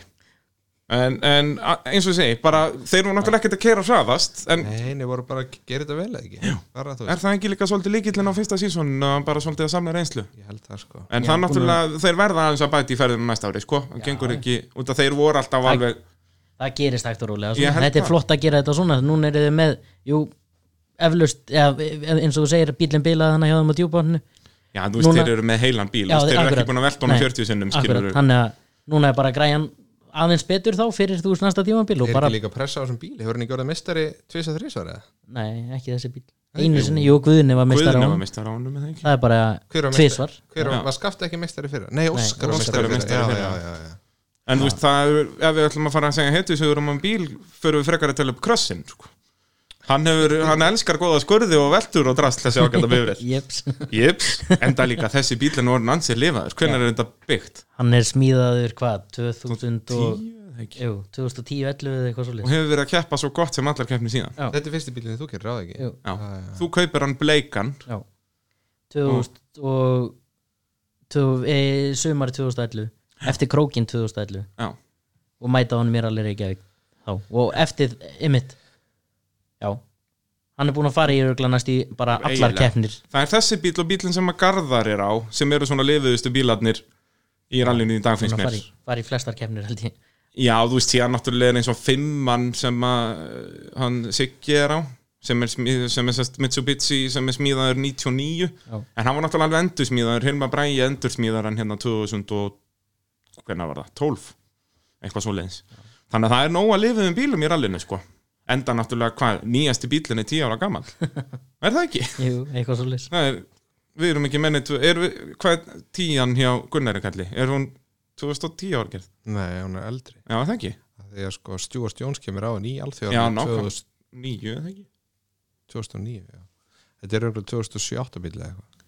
Speaker 1: En, en a- eins og ég segi, bara þeir eru náttúrulega ekkert að kera hraðast En
Speaker 3: Nei, nei, voru bara að gera þetta vel eða ekki bara, þú
Speaker 1: er
Speaker 3: veist,
Speaker 1: það ekki líka svolítið líkillin á fyrsta sísón Bara svolítið að samla reynslu
Speaker 3: ég held það sko
Speaker 1: En
Speaker 2: Já,
Speaker 1: það
Speaker 2: búin
Speaker 1: náttúrulega, þeir verða aðeins að bæti í ferðinu næsta ári, sko Það gengur ekki, út af þeir voru alltaf
Speaker 2: Það-
Speaker 1: alveg
Speaker 2: það gerist hægt og rólega
Speaker 1: Ég
Speaker 2: svona.
Speaker 1: held
Speaker 2: þetta
Speaker 1: það.
Speaker 2: er flott að gera þetta svona núna eru þið með, jú eflaust, ja, eins og þú segir bílinn bilaði hann hjá þeim á djúbáttinu
Speaker 1: Já, þú veist,
Speaker 2: Núna-
Speaker 1: þeir eru með heilan bíl Já, Þeir eru ekki búin að velta honum 40 sinnum, skilur
Speaker 2: þannig að núna er bara græjan aðeins betur þá fyrir þú veist næsta tímabil og
Speaker 3: Er
Speaker 2: bara,
Speaker 3: ekki líka pressa á þessum bíl? Hefur hann ekki orðið mistari 2-3 eða?
Speaker 2: nei, ekki þessi bíl einu sinni, jú, Guðni var mistar á
Speaker 1: Guðnum að
Speaker 2: hann
Speaker 1: mista ránum, eða ekki
Speaker 2: það er bara
Speaker 3: Hver var meistari?
Speaker 2: tvisvar
Speaker 3: Hver
Speaker 1: Já.
Speaker 3: var, var skafti ekki mistari fyrra? Nei, Óskar var
Speaker 1: Óskar var
Speaker 3: mistari fyrra
Speaker 1: meistari
Speaker 3: Já,
Speaker 1: fyrra.
Speaker 3: já, já, já.
Speaker 1: En þú veist, það er, ef við ætlum að fara að segja heitu Svo erum við um bíl, förum við frekar að tala upp krossin sko. Hann hefur, hann elskar góða skurði og veltur og drast þessi ágæta
Speaker 2: <laughs>
Speaker 1: bifrið
Speaker 2: Jeps.
Speaker 1: Jips, enda líka þessi bíl en orðin ansið lifaður Hvernig er þetta byggt?
Speaker 2: hann er smíðaður hvað, 2000 og
Speaker 1: Tíu, eða ekki?
Speaker 2: jú, 2010, 11 eða eitthvað
Speaker 1: Og
Speaker 2: svolítið
Speaker 1: hefur verið að keppa svo gott sem allar keppni síðan
Speaker 2: Já.
Speaker 3: Þetta er fyrsti bílinn þú gerir, ráð ekki?
Speaker 2: Jú.
Speaker 1: Já.
Speaker 3: Já, já.
Speaker 1: Þú kaupir hann bleikan
Speaker 2: já, 2000 og, og e, sumari 2011 eftir krókin 2011
Speaker 1: Já,
Speaker 2: og mæta hann mér alveg reykjavík þá og eftir ymmit já hann er búinn að fara í örgla næst í bara allar
Speaker 1: Eiginlega.
Speaker 2: keppnir
Speaker 1: það er þessi bíl og bílinn sem að Garðar er á sem eru svona lifiðustu bílarnir í rallinu í dag
Speaker 2: Búinn
Speaker 1: finnst
Speaker 2: að
Speaker 1: mér
Speaker 2: fara í, fara í flestar keppnir held ég
Speaker 1: Já, þú veist, síðan náttúrulega er eins og fimmann sem að eh, hann Siggi er á sem er, smíð, sem er sest, Mitsubishi sem er smíðaður 99
Speaker 2: Já.
Speaker 1: en hann var náttúrulega alveg endursmíðaður Hilma Bræi endursmíðar hann hérna 2000 og hvernig var það, 12 eitthvað svo leiðis þannig að það er nóg að lifið um bílum í rallinu sko enda náttúrulega hvað, nýjasti bílinn er 10 ára
Speaker 2: <laughs>
Speaker 1: gammal er það ekki?
Speaker 2: Jú, eitthvað svo lis
Speaker 1: Það er, við erum ekki mennið er, við- hvað er tíjan hjá Gunnari kalli? Er hún 2010 ára gerð?
Speaker 3: Nei, hún er eldri
Speaker 1: Já, er það ekki?
Speaker 3: Af Því að sko Stjúars Jóns kemur á hann í
Speaker 1: Já,
Speaker 3: alþjóðan
Speaker 1: nákvæm. Nýju, er það ekki?
Speaker 3: 2009 já. Þetta er auðvitað 2007 bíl eða eitthvað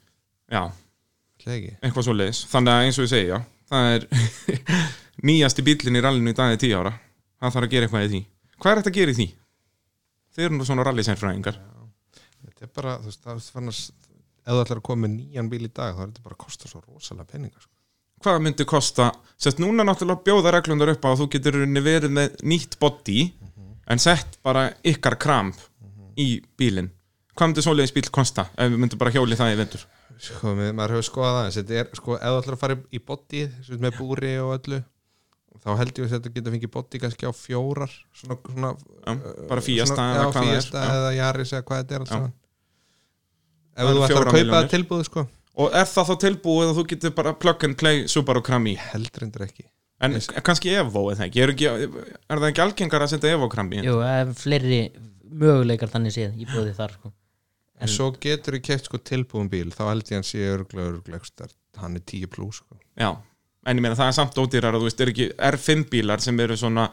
Speaker 1: Já,
Speaker 3: Ætli það ekki?
Speaker 1: eitthvað svo leiðis Þannig að eins og ég segi, já Það er <laughs> nýjasti bíllinn í rallinu í dag er 10 ára Það þarf að gera eitthvað í því Hvað er þetta að gera í því? Þeir eru nú svona rallisænfræðingar
Speaker 3: Þetta er bara, þú veist, það er fann að ef þú ætlar að koma með nýjan bíl í dag þá er þetta bara að kosta svo rosalega peninga sko.
Speaker 1: Hvað myndi kosta Sett núna náttúrulega bjóða reglundar upp á að þú getur í rauninni verið með nýtt body en sett bara ykkar kramp
Speaker 3: Mhm.
Speaker 1: í bílinn Hvað myndi svoleiðis bíl kosta ef við myndum bara hjóli það í vindur?
Speaker 3: sko, með, maður hefur skoðað aðeins þetta er, sko, ef þú ætlar að fara í- í body með búri og öllu þá held ég að þetta geta fengið body kannski á fjórar svona, svona, eh,
Speaker 1: Já, bara fíasta
Speaker 3: svona,
Speaker 1: eða
Speaker 3: já,
Speaker 1: hvað það er
Speaker 3: fíasta
Speaker 1: Já.
Speaker 3: eða jaris eða hvað þetta er allt
Speaker 1: Já.
Speaker 3: saman.
Speaker 1: Það
Speaker 3: ef þú
Speaker 1: eru
Speaker 3: ætlar
Speaker 1: fjórar
Speaker 3: að kaupa
Speaker 1: milljónir.
Speaker 3: það tilbúð sko,
Speaker 1: Og er það þá tilbúið að þú getur bara plug and play Subaru kram í?
Speaker 3: heldur endur ekki
Speaker 1: En
Speaker 3: Yes.
Speaker 1: kannski Evo eða ekki, er, ekki, er það ekki algengar að setja Evo kram í?
Speaker 2: Jú, það er fleiri möguleikar þannig séð í bóði þar sko.
Speaker 3: en svo getur þú keft sko tilbúin bíl þá held ég að hann sé örglega örglega hann er 10 plus sko.
Speaker 1: Já, en ég meina það er samt ódýrar þú veist, er ekki R5 bílar sem eru svona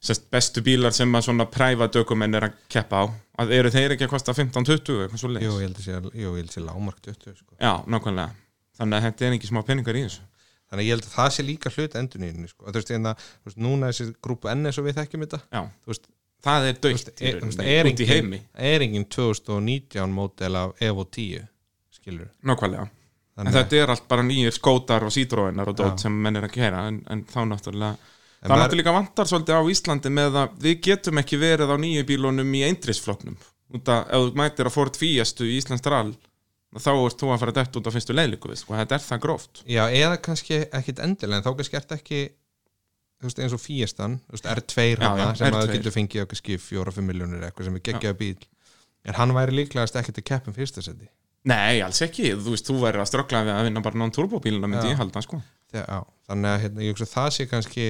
Speaker 1: sest, bestu bílar sem að svona private ökumenn er að keppa á að eru þeir ekki að kosta 15-20 eitthvað svo
Speaker 3: jú, ég held að sé, jú, ég held að sé lámark 20 sko.
Speaker 1: Já, nákvæmlega Þannig að þetta er ekki smá peningar í þessu
Speaker 3: þannig að ég held að það sé líka hlut endurnýjunni sko. þú veist, en það, þú veist, núna þessi grúpu NS og við þekkjum þetta
Speaker 1: Já,
Speaker 3: þú veist,
Speaker 1: það e- er
Speaker 3: þú
Speaker 1: dögt
Speaker 3: veist, er, þú veist, er,
Speaker 1: út í
Speaker 3: engin,
Speaker 1: heimi
Speaker 3: er engin 2019 mótel af Evo 10 skilur
Speaker 1: Nákvæmlega En
Speaker 3: Þannig að-
Speaker 1: þetta er allt bara nýjir skótar og sítróinar og dót sem menn er að gera en, en þá náttúrulega
Speaker 3: En
Speaker 1: Það
Speaker 3: maður-
Speaker 1: náttúrulega vantar svolítið á Íslandi með að við getum ekki verið á nýju bílunum í eindrisfloknum út að ef þú mætir að Ford Fiestu í Íslands drall þá ert þú að fara dætt út á fyrstu leiðliku veist, og þetta er það gróft
Speaker 3: já, eða kannski ekkit endilega en þá kannski ert ekki þú veist, eins og Fiestan, þú veist, R2
Speaker 1: Já,
Speaker 3: hana,
Speaker 1: já,
Speaker 3: sem að
Speaker 1: R2.
Speaker 3: þú getur fengið á kannski 4-5 miljónir eitthvað sem er geggjaða bíl en hann væri líklegast ekkit að keppum fyrsta seti
Speaker 1: Nei, alls ekki, þú veist, þú verður að ströggla við að vinna bara non-turbo bíluna myndi
Speaker 3: Já.
Speaker 1: ég halda sko.
Speaker 3: Þegar, á, þannig að hérna, ég hugsa að það sé kannski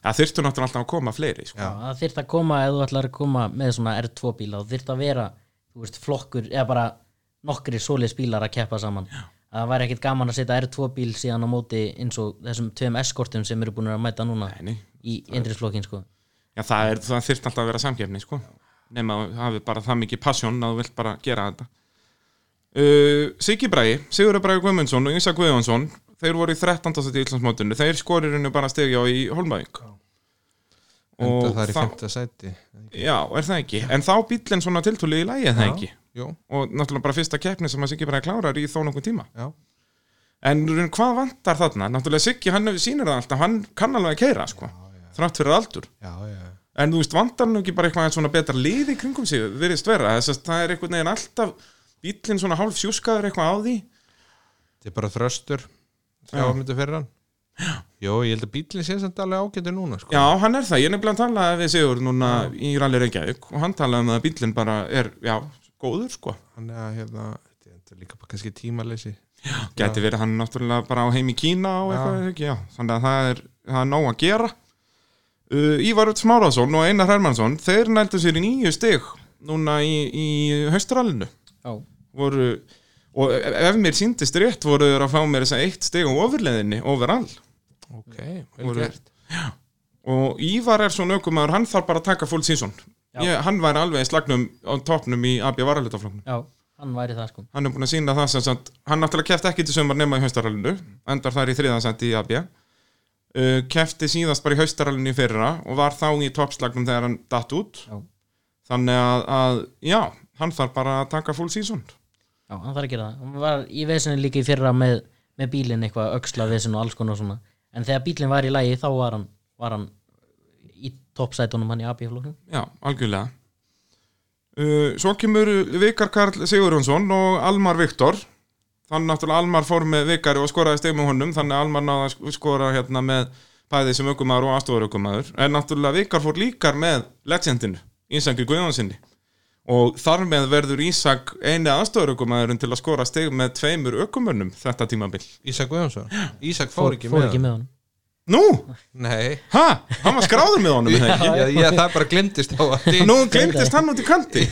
Speaker 1: það þyrftu náttúrulega alltaf að koma fleiri sko.
Speaker 3: Já.
Speaker 2: það þyrft að koma ef þú ætlar að koma með svona R2 bíla þá þyrft að vera þú veist, flokkur eða bara nokkri svoleiðs bílar að keppa saman Já. það væri ekkit gaman að setja R2 bíl síðan á móti eins og þessum tveim eskortum sem eru búin að mæta núna
Speaker 1: Nei, nei.
Speaker 2: í indriðsflokkin sko.
Speaker 1: Já, það, er- það þyrfti alltaf að vera samkefni sko. nema að þú hafi bara það mikið passion að þú vilt bara gera þetta uh, Siggi Bræi, Sigurður Bræi Guðmundsson og Ísa Guðjónsson þeir voru í 13. seti í Íslandsmótinu þeir skoririnu bara stegja í Holmavík
Speaker 3: enda það er í
Speaker 1: þá-
Speaker 3: 5. seti
Speaker 1: Já, er það ekki, en þá bíllinn svona tiltúlið í lægi er það ekki
Speaker 3: jú,
Speaker 1: og náttúrulega bara fyrsta keppni sem að Siggi Bræi klárar í þó nokkuð tíma
Speaker 3: já
Speaker 1: En í raun, hvað vantar þarna? Náttúrulega Siggi, hann sýnir það alltaf, hann kann alveg að keira sko. þá þrátt fyrir aldur
Speaker 3: já, já,
Speaker 1: en þú veist, vandar hann ekki bara eitthvað aðeins svona betra lið í kringum sig, virðist vera þess að það er einhvern veginn alltaf bíllinn svona hálf sjúskaður eitthvað á því
Speaker 3: þetta er bara þröstur
Speaker 1: Já.
Speaker 3: þrjá myndu fyrir hann Jó, ég held að bílinn sé samt alveg ágættur núna sko.
Speaker 1: já, hann er það, ég er nefnilega að tala við Sigur núna í Rally Reykjavík og hann talaði um að bíllinn bara er, já, góður sko,
Speaker 3: hann er að hérna, þetta er líka bara kannski tímaleysi
Speaker 1: gæti verið hann náttúrulega bara á heim í Kína og
Speaker 3: Já.
Speaker 1: eitthvað já. Ekki, já. þannig að það er, það er nóg að gera uh, Ívar Öld Smáraðsson og Einar Hermansson, þeir nældu sér í nýju stig núna í, í haustrallinu
Speaker 2: Já,
Speaker 1: voru og ef- ef mér síndist rétt voru þeir að fá mér þess að eitt stig á ofurleðinni overall
Speaker 3: ok, vel
Speaker 1: Voru-
Speaker 3: gert
Speaker 1: og Ívar er svona aukumæður, hann þarf bara að taka full season
Speaker 2: Já.
Speaker 1: ég, hann væri alveg í slagnum á toppnum í AB varalitafloknum
Speaker 2: já, hann væri það sko
Speaker 1: hann er búin að sína það sem sagt hann náttúrulega kefti ekki til sömur nema í haustaralinu endar þar í þriðansætti í AB uh, kefti síðast bara í haustaralinu í fyrra og var þá í toppslagnum þegar hann datt út
Speaker 2: Já.
Speaker 1: þannig að, að já, hann þarf bara að taka full season
Speaker 2: Já, hann þarf að gera það Hann var í vesinu líka í fyrra með, með bílinn eitthvað öxla vesinu og alls konar svona En þegar bílinn var í lagi þá var hann, var hann í toppsætunum hann í AB-floknum
Speaker 1: Já, algjörlega uh, Svo kemur Vikar Karl Sigurjónsson og Almar Viktor Þannig náttúrulega Almar fór með Vikari og skoraði stegum með honum Þannig að Almar náði að sk- skora hérna með bæði sem aukumæður og aðstofaraukumæður En náttúrulega Vikar fór líkar með legendinu, Ísaki Guðjónssoni Og þar með verður Ísak eini aðstofaraukumæðurinn til að skora stegum með tveimur aukumönnum þetta tímabil
Speaker 3: Ísak Guðjónsson, Ísak fór ekki
Speaker 2: fór
Speaker 3: með
Speaker 2: ekki
Speaker 3: hann.
Speaker 2: með hann
Speaker 1: Nú,
Speaker 3: Nei,
Speaker 1: hæ, hann var skráður með honum er það ekki?
Speaker 3: já, já, það bara glimtist á
Speaker 1: <laughs>
Speaker 3: að
Speaker 1: Nú glemtist hann út í <laughs> kanti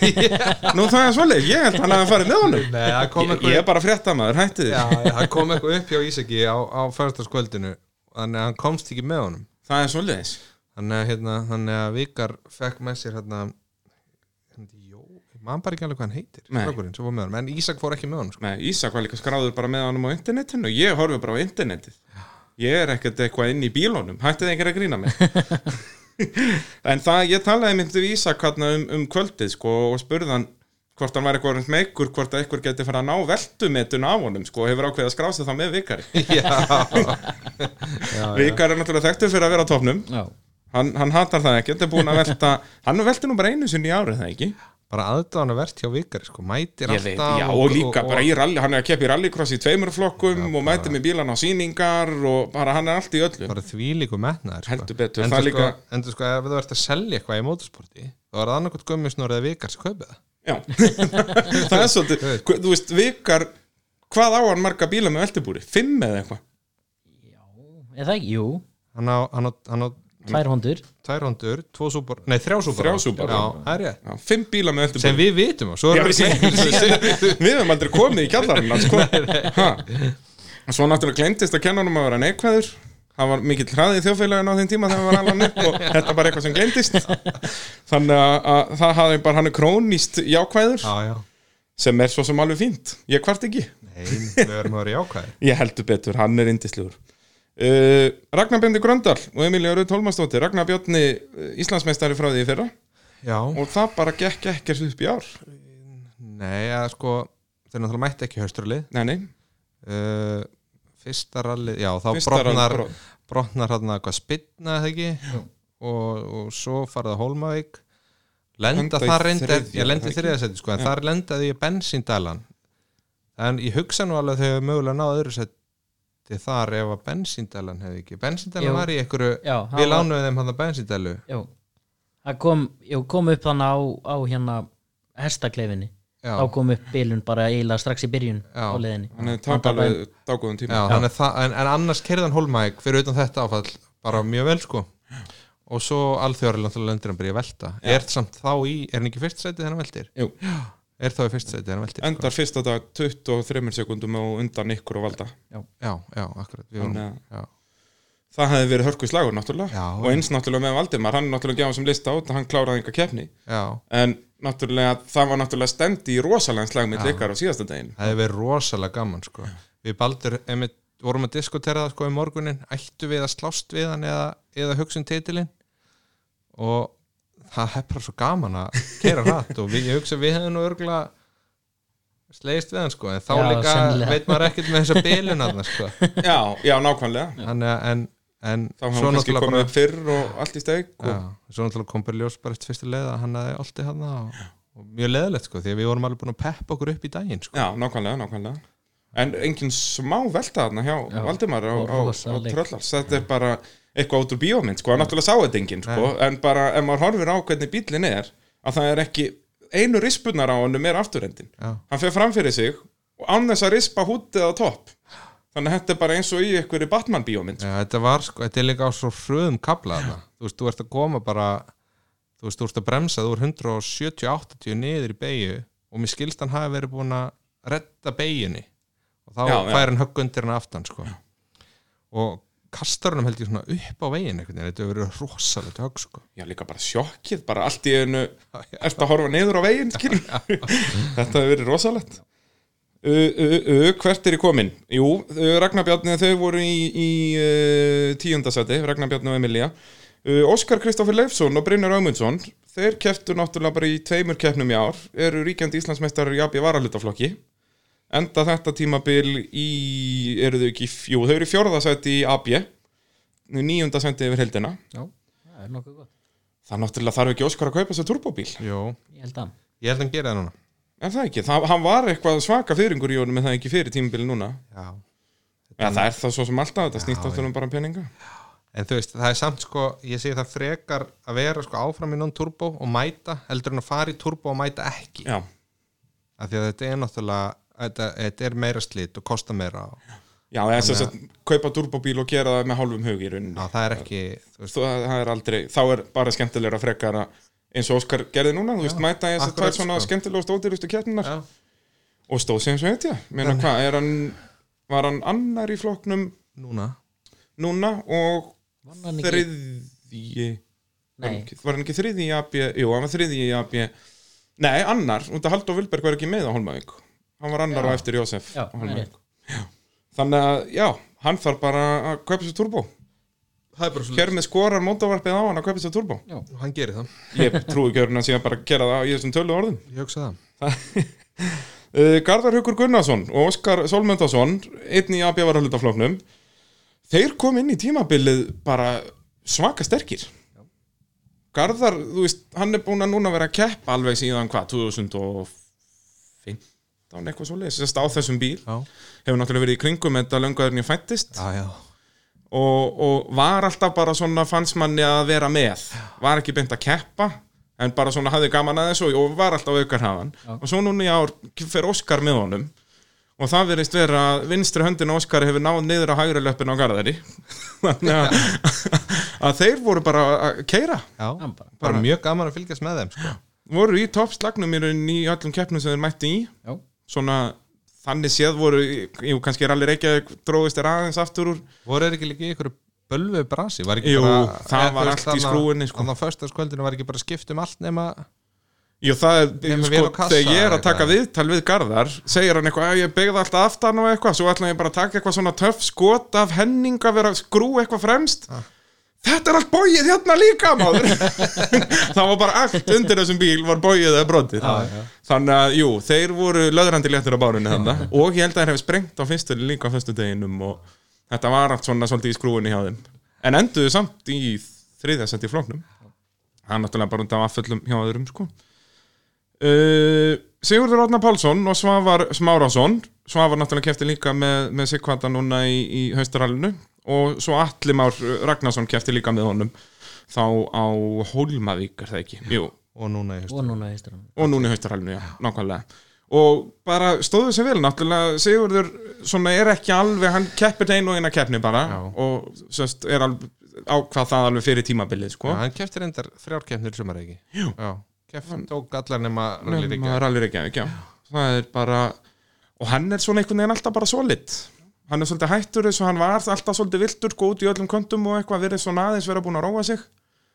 Speaker 1: Nú það er svoleið, ég held hann að farið með honum
Speaker 3: Nei, það kom
Speaker 1: Ég,
Speaker 3: eitthvað
Speaker 1: ég er bara fréttamaður, hætti þið
Speaker 3: Já, það kom eitthvað upp hjá Ísaki á, á fyrstaskvöldinu þannig að hann komst ekki með honum
Speaker 1: Það er svoleiðis
Speaker 3: þannig að, hérna, þannig að Vikar fekk með sér hérna, hérna jó, ég man bara ekki alveg hvað hann heitir
Speaker 1: Nei.
Speaker 3: strákurinn sem fór með honum, en Ísak fór ekki með honum sko. <laughs>
Speaker 1: Nei, Ísak var líka skráður bara með honum á internetinu Ég horfi bara á internetið Ég er ekkert eitthvað inn í bílunum Hætti þið einhver að grína
Speaker 3: <laughs>
Speaker 1: mig En það, ég talaði myndi við Ísak hérna um, um kvöldið sko og spurði hann hvort hann var eitthvað meikur, hvort að eitthvað geti fara að ná veltumetun af honum sko, og hefur ákveðið að skrása það með vikari
Speaker 3: Já,
Speaker 1: Vikari er náttúrulega þekktur fyrir að vera á topnum
Speaker 2: Já,
Speaker 1: hann, hann hatar það ekki, þetta er búin að velta <laughs> hann velti nú bara einu sinni í árið það ekki
Speaker 3: bara aðdáðan að verðt hjá Vikar sko, mætir
Speaker 1: Ég veit,
Speaker 3: alltaf
Speaker 1: já, og líka bara í rally, hann er að keppa í rallycross í tveimur flokkum og mæti með bílan á síningar og bara hann er allt í öllu
Speaker 3: bara þvílíku metnaður
Speaker 1: Heldur betur,
Speaker 3: en
Speaker 1: það
Speaker 3: það
Speaker 1: er
Speaker 3: sko,
Speaker 1: líka-
Speaker 3: en þú sko, ef þú ert að selja eitthvað í mótorsporti þá er það annarkot gummisnur eða vikar sem kaupið það
Speaker 1: Já, <laughs> það er svolítið hva- Þú veist, vikar, hvað á hann marga bíla með veltibúri? Fimm eða eitthvað?
Speaker 2: eða ekki, jú,
Speaker 3: hann á, hann á, hann á
Speaker 2: tvær hondur
Speaker 3: tvær hondur, tvo súpar, nei þrjá súpar
Speaker 1: Þrjá Subaru.
Speaker 3: já, það er ég
Speaker 1: Já, fimm bíla með
Speaker 3: sem
Speaker 1: veltibúri
Speaker 3: við vitum og svo
Speaker 1: Já,
Speaker 3: erum
Speaker 1: við, við höfum aldrei komið í kjallarinn hans, sko. Ha. og svo náttúrulega glemtist að kennanum að vera neikvæður það var mikill hraði í þjóðfélagin á þeim tíma þegar hann var allan upp og þetta bara eitthvað sem glemtist þannig að, að það hafði bara hann er krónist jákvæður
Speaker 3: já, já,
Speaker 1: sem er svo sem alveg fínt, ég kvart ekki
Speaker 3: nei, við erum að vera jákvæðir
Speaker 1: ég heldur betur, hann er indislegur uh, Ragnar Bindi Gröndal og Emilja Rauð Tólmastóttir, Ragnar Bjarni uh, Íslandsmeistari frá því í fyrra
Speaker 3: já,
Speaker 1: og það bara gekk ekkert upp í ár
Speaker 3: nei, að sko þeir náttúrulega mætti ekki hausturlið
Speaker 1: nei, nei,
Speaker 3: uh, fyrsta rallið, já, þá
Speaker 1: Fyrsta rallið,
Speaker 3: brotnar
Speaker 1: brot.
Speaker 3: brotnar hann eitthvað spinna eða ekki og, og svo farið að Hólmavík lenda
Speaker 1: Lenda í
Speaker 3: þar reyndar,
Speaker 1: þriðja,
Speaker 3: ég lendi
Speaker 1: það ekki?
Speaker 3: þriðasæti sko, en þar lendaði ég bensíndælan en ég hugsa nú alveg að þau hefur mögulega náð öðru seti þar ef að bensíndælan hefði ekki
Speaker 2: Jú.
Speaker 3: bensíndælan var í einhverju,
Speaker 2: Já, hann
Speaker 3: við
Speaker 2: var-
Speaker 3: lánuðum þeim hann að bensíndælu
Speaker 2: Jú, það kom, jú, kom upp þannig á, á hérna hestakleifinni
Speaker 3: Já.
Speaker 2: Þá kom upp bílun bara eiginlega strax í byrjun
Speaker 3: Já.
Speaker 2: á leiðinni
Speaker 1: hann hefði tapað alveg dágóðum tíma
Speaker 3: Já, já. Það, en, en annars kerðan Holmæk fyrir utan þetta áfall bara mjög vel sko og svo alþjóri náttúrulega lendir hann byrja að velta er samt þá í, er hann ekki í fyrst sæti þegar hann veltir?
Speaker 1: Jú.
Speaker 3: er þá í fyrst sæti þegar hann veltir?
Speaker 1: endar fyrsta dag 23 sekundum og undan ykkur og valda
Speaker 3: Já, já, akkurat við vorum,
Speaker 1: Þannig að-
Speaker 3: já.
Speaker 1: það hefði verið hörku slagur náttúrulega
Speaker 3: Já,
Speaker 1: og eins náttúrulega með Valdimar, hann náttúrulega gjá sem lista út hann kláraði enga keppni
Speaker 3: já,
Speaker 1: en náttúrulega það var náttúrulega stendi í rosalega slag með leikar á síðasta daginn
Speaker 3: það hefur verið rosalega gaman sko við baldur, emi, vorum að diskutera það sko í morgunin, ættu við að slást við hann eða, eða hugsun titilinn og það er bara svo gaman að
Speaker 1: <laughs>
Speaker 3: kera hratt og við, ég hugsa að við hefum nú örgulega slegist við hann sko en þá
Speaker 2: Já,
Speaker 3: líka
Speaker 2: sennilega.
Speaker 1: <laughs>
Speaker 3: veit maður ekkert með þessa bilun hann sko
Speaker 1: já, já, nákvæmlega
Speaker 3: Þannig að- en, en
Speaker 1: Þá hafa hann kannski
Speaker 3: náttúrulega
Speaker 1: komið upp fyrr og allt í steg
Speaker 3: Já,
Speaker 1: og...
Speaker 3: svo náttúrulega kom bara í ljós bara eftir fyrstu leið að hann hefði alltaf hann og, og mjög leðilegt sko, því að við vorum alveg búin að peppa okkur upp í daginn sko.
Speaker 1: Já, nákvæmlega, nákvæmlega En engin smá velta þarna hjá
Speaker 2: Já,
Speaker 1: Valdimar á, á, á
Speaker 2: rosaleg.
Speaker 1: tröllars Þetta er bara eitthvað út úr bíómynd sko, náttúrulega sá þetta enginn sko, en bara ef maður horfir á hvernig bíllinn er að það er ekki, einu rispunar á honum er afturhendin,
Speaker 3: Já.
Speaker 1: hann fer fram fyrir sig og án þess að rispa hútið á topp þannig að þetta er bara eins og í einhverju Batman bíómynd,
Speaker 3: Já, þetta var sko, þetta er líka á svo hröðum kabla þarna, þú veist, þú ert að koma bara þú veist, þú ert að bremsa, þú er 170-80 niður í beigju og mér skilst hann hafi verið búin að retta beigjunni og þá
Speaker 1: Já, já.
Speaker 3: fær hann högg undir hann aftan sko. og kastar hann held ég svona upp á veginn einhvern veginn, þetta hefur verið rosalegt högg sko.
Speaker 1: já líka bara sjokkið bara allt í einu, ert að horfa niður á veginn skilur, þetta hefur verið rosalegt Ö, ö, ö, hvert er í komin? Jú, ö, Ragnar Bjarni þau voru í, í uh, tíundasæti, Ragnar Bjarni og Emilía uh, Óskar Kristoffer Leifsson og Brynjar Ömundsson þeir keftu náttúrulega bara í tveimur keppnum í ár eru ríkjandi Íslandsmeistar í AB varalutaflokki enda þetta tímabil í, eru þau ekki, í fj- jú, þau eru í fjórðasæti í AB níundasæti yfir heldina
Speaker 3: Já,
Speaker 2: það er nokkuð gott
Speaker 1: Það náttúrulega þarf ekki Óskar að kaupa sér turbóbíl
Speaker 3: Jó,
Speaker 2: ég held að
Speaker 3: ég held að hann gera það núna
Speaker 1: Er það ekki? Það, hann var eitthvað svaka fyrringur í honum en það er ekki fyrir tímabili núna
Speaker 3: Já,
Speaker 1: Já, það er það svo sem alltaf, þetta snýst
Speaker 3: Já,
Speaker 1: alltaf um bara peninga
Speaker 3: En þú veist, það er samt sko, ég segi það frekar að vera sko áfram í non-turbo og mæta, heldur en að fara í turbo og mæta ekki.
Speaker 1: Já,
Speaker 3: Af því að þetta er náttúrulega, þetta, þetta er meira slit og kosta meira. Og,
Speaker 1: já það er þess að kaupa turbóbíl og gera það með hálfum hug í rauninni
Speaker 3: já, það er ekki, þú veist,
Speaker 1: það, það er aldrei, þá er bara skemmtilegra frekar að eins og Óskar gerði núna, þú veist, mæta þess að
Speaker 3: akkurat,
Speaker 1: tvær svona
Speaker 3: sko.
Speaker 1: skemmtilega og stóðdýrustu keppninar
Speaker 3: já,
Speaker 1: og stóð sem svo heitja, meina hvað, er hann var hann annar í flokknum
Speaker 3: núna.
Speaker 1: núna og
Speaker 2: Vann hann ekki-
Speaker 1: þriðji var hann
Speaker 2: Nei,
Speaker 1: ekki- var hann ekki þriði í AB jú, hann var þriði í AB nei, annar, út að Halldór Vilberg var ekki með á Holmavík hann var annar
Speaker 2: Já.
Speaker 1: á eftir Jósef
Speaker 2: Já,
Speaker 1: á
Speaker 2: það er
Speaker 1: Hólmavík.
Speaker 2: rétt.
Speaker 1: Já. þannig að, já, hann þarf bara að kaupa sér turbo
Speaker 2: Mm.
Speaker 3: Það er bara
Speaker 1: hér með skorar mótavarpið á hann að kaupa sér turbo
Speaker 3: Hann gerir það.
Speaker 1: ég trúi ekki hérna síðan bara að gera það í þessum tölu orðum
Speaker 3: Ég hugsa það.
Speaker 1: uh, Garðar Hugur Gunnarsson og Óskar Solmundarsson einn í AB var hlutafloknum þeir kom inn í tímabilið bara svaka sterkir Garðar, þú veist, hann er búin að núna vera að keppa alveg síðan hvað, 2015 eitthvað svo leis, á þessum bíl
Speaker 3: Já,
Speaker 1: hefur náttúrulega verið í kringum þetta löngaðurinn ég fættist
Speaker 3: já, já.
Speaker 1: og, og var alltaf bara svona fannst manni að vera með var ekki beint að keppa en bara svona hafði gaman að þessu og var alltaf aukar hafan og svo núna í ár fer Óskar með honum og það verðist vera að vinstri höndin á Óskar hefur náð niður á hægri löppin á Garðari <laughs> þannig að, að þeir voru bara að keira
Speaker 3: Já,
Speaker 2: hann
Speaker 3: bara,
Speaker 2: bara-
Speaker 3: mjög gaman að fylgjast með þeim, sko.
Speaker 1: voru í toppslagnum í rauninni í öllum keppnum sem þeir mætti í
Speaker 2: já,
Speaker 1: svona þannig séð voru jú, kannski er allir ekki að dróðist er aðeins aftur úr
Speaker 3: Voru þeir ekki líka í ykkur bölvu brasi? Var ekki
Speaker 1: Jú,
Speaker 3: bara,
Speaker 1: það
Speaker 3: eða, þú
Speaker 1: var
Speaker 3: veist,
Speaker 1: allt í
Speaker 3: þarna-
Speaker 1: skrúfunni, sko.
Speaker 3: Þannig að föstaskvöldinu var ekki bara skipt um allt nema...
Speaker 1: Jú, það er,
Speaker 3: Nema
Speaker 1: sko,
Speaker 3: vél og kassa
Speaker 1: þegar ég er að taka
Speaker 3: eða-
Speaker 1: viðtal við Garðar segir hann eitthvað, "Já, ég byggði alltaf aftan og eitthvað svo ætla ég bara að taka eitthvað svona töff skot af henning að vera að skrú eitthvað fremst
Speaker 3: Ah.
Speaker 1: Þetta er allt bóið hérna líka,
Speaker 3: <laughs>
Speaker 1: maður Það var bara allt undir þessum bíl var bóið eða brotið
Speaker 3: Ah,
Speaker 1: Þannig að, jú, þeir voru löðrandi léttur á bárunni þarna og ég held að þeir hefði sprengt á fyrstu líka á fyrstu deginum og þetta var allt svona svolítið í skrúinni hjá þeim en enduðu samt í þriðasend í flóknum það er náttúrulega bara út af afföllum hjá öðrum sko. uh, Sigurður Átna Pálsson og Svavar Smárásson Svavar náttúrulega kefti líka með, með Sigvata núna í, í haustarallinu og svo Atli Már Ragnarsson kefti líka með honum þá á Hólmavík er það ekki, jú
Speaker 3: Og núna, ég
Speaker 2: og núna veistur hann
Speaker 1: og núna í haustarallinu, já, nákvæmlega og bara stóðu sér vel náttúrulega Sigurður svona er ekki alveg hann keppir einu og eina keppni bara
Speaker 3: Já.
Speaker 1: og sest, er alveg ákvað það alveg fyrir tímabilið sko.
Speaker 3: Já, hann kefti reyndar þrjár keppnir í sumar, ekki? Jú. Já, kefti tók allar nema Rally Ríkja.
Speaker 1: Rally Reykjavík, já. það er bara og hann er svona einhvern veginn alltaf bara solid hann er svolítið hættur eins og hann var alltaf svolítið viltur sko út í öllum kontum og eitthvað verið svona aðeins vera búin að róa sig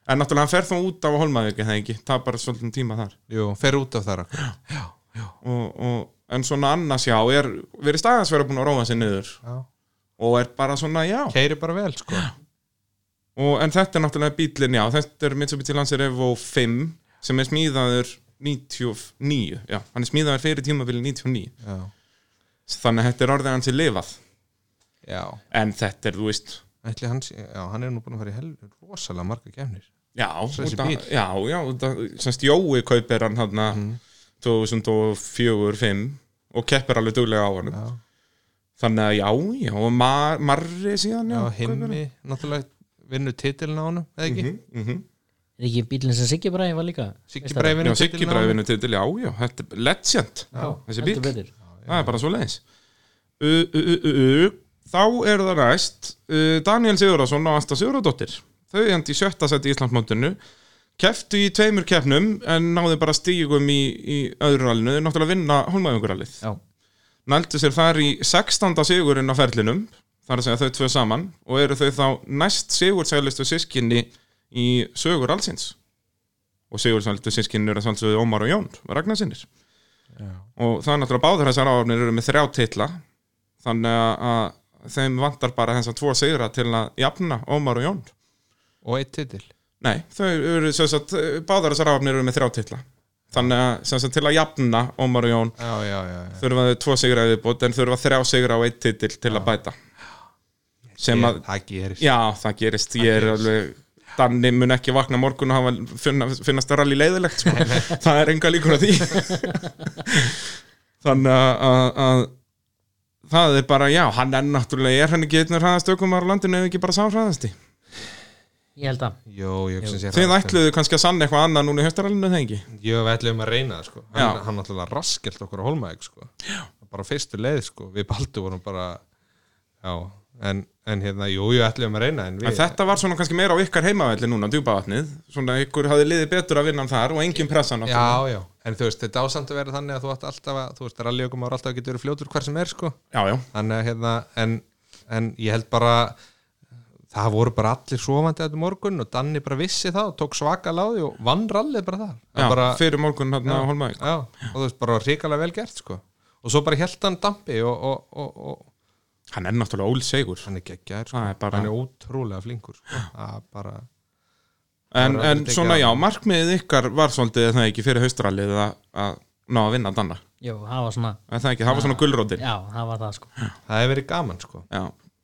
Speaker 1: en náttúrulega hann fer þá út af holmaði ekki það ekki, það bara svolítið tíma þar
Speaker 3: Jú, fer út af þar akkur.
Speaker 1: og, og, en svona annars já er, verið staðans vera búin að róa sig niður
Speaker 3: Já.
Speaker 1: og er bara svona já
Speaker 3: Keiri bara vel, sko
Speaker 1: og, en þetta er náttúrulega bílinn já þetta er Mitsubishi Lancer Evo 5 sem er smíðaður 99, já, hann er smíðaður fyrir tímabili 99
Speaker 3: Já,
Speaker 1: þannig að þetta er orðið hans í lifað
Speaker 3: já.
Speaker 1: en þetta er, þú veist
Speaker 3: Ætli hans, já, hann er nú búin að fara í helvur rosalega marga kemnir
Speaker 1: Já,
Speaker 3: Þessi
Speaker 1: út af-
Speaker 3: bíll. Mm.
Speaker 1: já, já út af- semst Jói kaupir hann hann 2004-05 og keppir alveg duglega á hann
Speaker 3: Já,
Speaker 1: þannig að já, já, og Mar Marri síðan
Speaker 3: já
Speaker 1: já,
Speaker 3: himmi, náttúrulega vinnur titilin á honum, eða ekki?
Speaker 1: mm -hmm.
Speaker 2: Er ekki bílinn sem Siggi Bræði var líka
Speaker 3: Siggi Brei
Speaker 1: Já,
Speaker 3: vinnur
Speaker 1: Siggi
Speaker 3: titilin á
Speaker 1: bræði
Speaker 3: honum
Speaker 1: vinnu titil, já, já, þetta er legend þessi bíl, það er bara svo leiðis uh, uh, uh, uh, uh. Þá er það næst uh, Daniel Sigurðarsson og Asta Sigurðardóttir Þau endi í sjötta seti í Íslandsmótinu Keftu í tveimur keppnum en náðu bara stígum í, í öðru rallinu, Þau náttúrulega vinna hólmaðungurallið
Speaker 2: Já,
Speaker 1: nældu sér þar í 16. sigurinn á ferlinum þar að segja þau tvö saman og eru þau þá næst sigursælustu sískinni í sögur allsins og sigursælustu sískinni eru þess að Ómar og Jón Ragnarsinnir
Speaker 3: Já.
Speaker 1: og það er náttúrulega báður þessar áhafnir eru með þrjá titla þannig að- að þeim vantar bara þess að tvo sigra til að jafna Ómar og Jón
Speaker 3: Og eitt titil
Speaker 1: Nei, þau eru sem sagt, báðar þessar áhafnir eru með þrjá titla þannig að sem sagt, til að jafna Ómar og Jón
Speaker 3: Já, já, já, já.
Speaker 1: þurfa þau tvo sigra viðbót en þurfa þrjá sigra á eitt titil til að bæta sem að,
Speaker 3: Það gerist
Speaker 1: já það gerist ég er alveg, Danni mun ekki vakna morgun og hafa finna, finnast það rally <laughs> leiðilegt sko. það er enga líkur að því þannig að, að, að það er bara, já, hann er náttúrulega er hann ekki einn hraðast ökumar á landinu ef ekki bara samhraðasti
Speaker 2: ég held að
Speaker 3: Jó, ég hugsa sér
Speaker 1: þið ætluðu kannski að sanna eitthvað annað núna í höstarallinu þegar ekki
Speaker 3: Jó, við ætluðum að reyna það, sko Hann,
Speaker 1: Já.
Speaker 3: hann náttúrulega raskelt okkur á Holmæk, sko já. Bara á fyrstu leið, sko Við baldu vorum bara Já, en, en hérna, jú, jú, ætluðum að reyna En við
Speaker 1: En þetta var svona kannski meira á ykkar heimavelli núna, djúpavatnið, svona ykkur hafði liðið betur að vinna um þar og engin pressa náttúrulega.
Speaker 3: Já, já, en þú veist, þetta ásamt að vera þannig að þú ætti alltaf að, þú veist, rallyökum ára alltaf að geta verið fljótur hver sem er, sko
Speaker 1: Já, já,
Speaker 3: Þannig að, hérna, en, en ég held bara það voru bara allir svovandi þetta morgun og Danni bara vissi það og tók svaka láði og vann rallið bara þar
Speaker 1: já
Speaker 3: Hann bara,
Speaker 1: fyrir morgun hérna á Holmæk
Speaker 3: já, og þú veist, bara ríkalega vel gert, sko og svo bara held hann dampi og, og, og, og
Speaker 1: Hann er náttúrulega ólsegur
Speaker 3: hann er geggjær, sko,
Speaker 1: Það er bara-
Speaker 3: hann er ótrúlega flinkur, sko, að bara
Speaker 1: En,
Speaker 3: Það er
Speaker 1: en
Speaker 3: alveg
Speaker 1: svona
Speaker 3: tekið
Speaker 1: já,
Speaker 3: á.
Speaker 1: markmiðið ykkar var svolítið er það ekki fyrir haustralið að, að ná að vinna danna
Speaker 2: Jó, það var svona
Speaker 1: En það ekki, það var svona gullrótin
Speaker 2: Já, það var
Speaker 1: <laughs>
Speaker 2: það sko
Speaker 3: það hefur verið gaman, sko
Speaker 1: Já,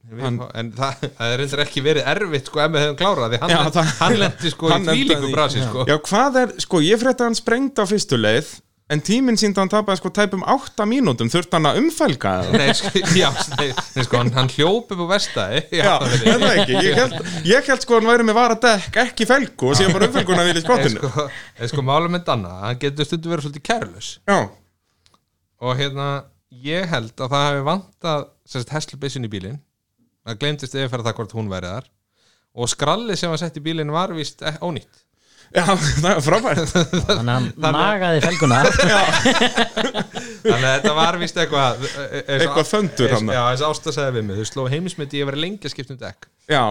Speaker 3: Við- en það, það er reyndar ekki verið erfitt sko ef við hefum klárað því hann,
Speaker 1: Já,
Speaker 3: já,
Speaker 1: það-
Speaker 3: hann lendi
Speaker 1: hann
Speaker 3: sko í
Speaker 1: endaði
Speaker 3: tvílíku
Speaker 1: í-
Speaker 3: brasi sko
Speaker 1: já hvað er, sko ég frétti að hann sprengt á fyrstu leið En tíminn síndi hann tapaði sko tæpum 8 mínútum Þurfti hann að umfælga það
Speaker 3: <laughs> nei, sko, já, nei, nei, sko hann, hann hljóp upp á vestæði
Speaker 1: Já, en það ekki, ég held, ég held sko hann væri með varadekk ekki felgu og síðan bara umfylguna
Speaker 3: <laughs>
Speaker 1: við í
Speaker 3: en
Speaker 1: skottinu
Speaker 3: sko, en sko málum með Danna hann getur stundu verið svolítið kærlus
Speaker 1: Já,
Speaker 3: og hérna ég held að það hefði vantað sérst heslubissin í bílinn það glemtist yfirferð það hvort hún verið þar og skrallið sem var sett í bílinn var víst eh, ónýtt
Speaker 1: já, <laughs> það er frábært
Speaker 2: Þannig að hann nagaði felguna
Speaker 1: <laughs>
Speaker 3: þannig að þetta var víst eitthvað eh, eh,
Speaker 1: Eitthvað föndur
Speaker 3: eins-
Speaker 1: þarna.
Speaker 3: já, þess ásta segði við mig, þau sló heimismyndi ég verið lengi að skipta um dekk
Speaker 1: Já,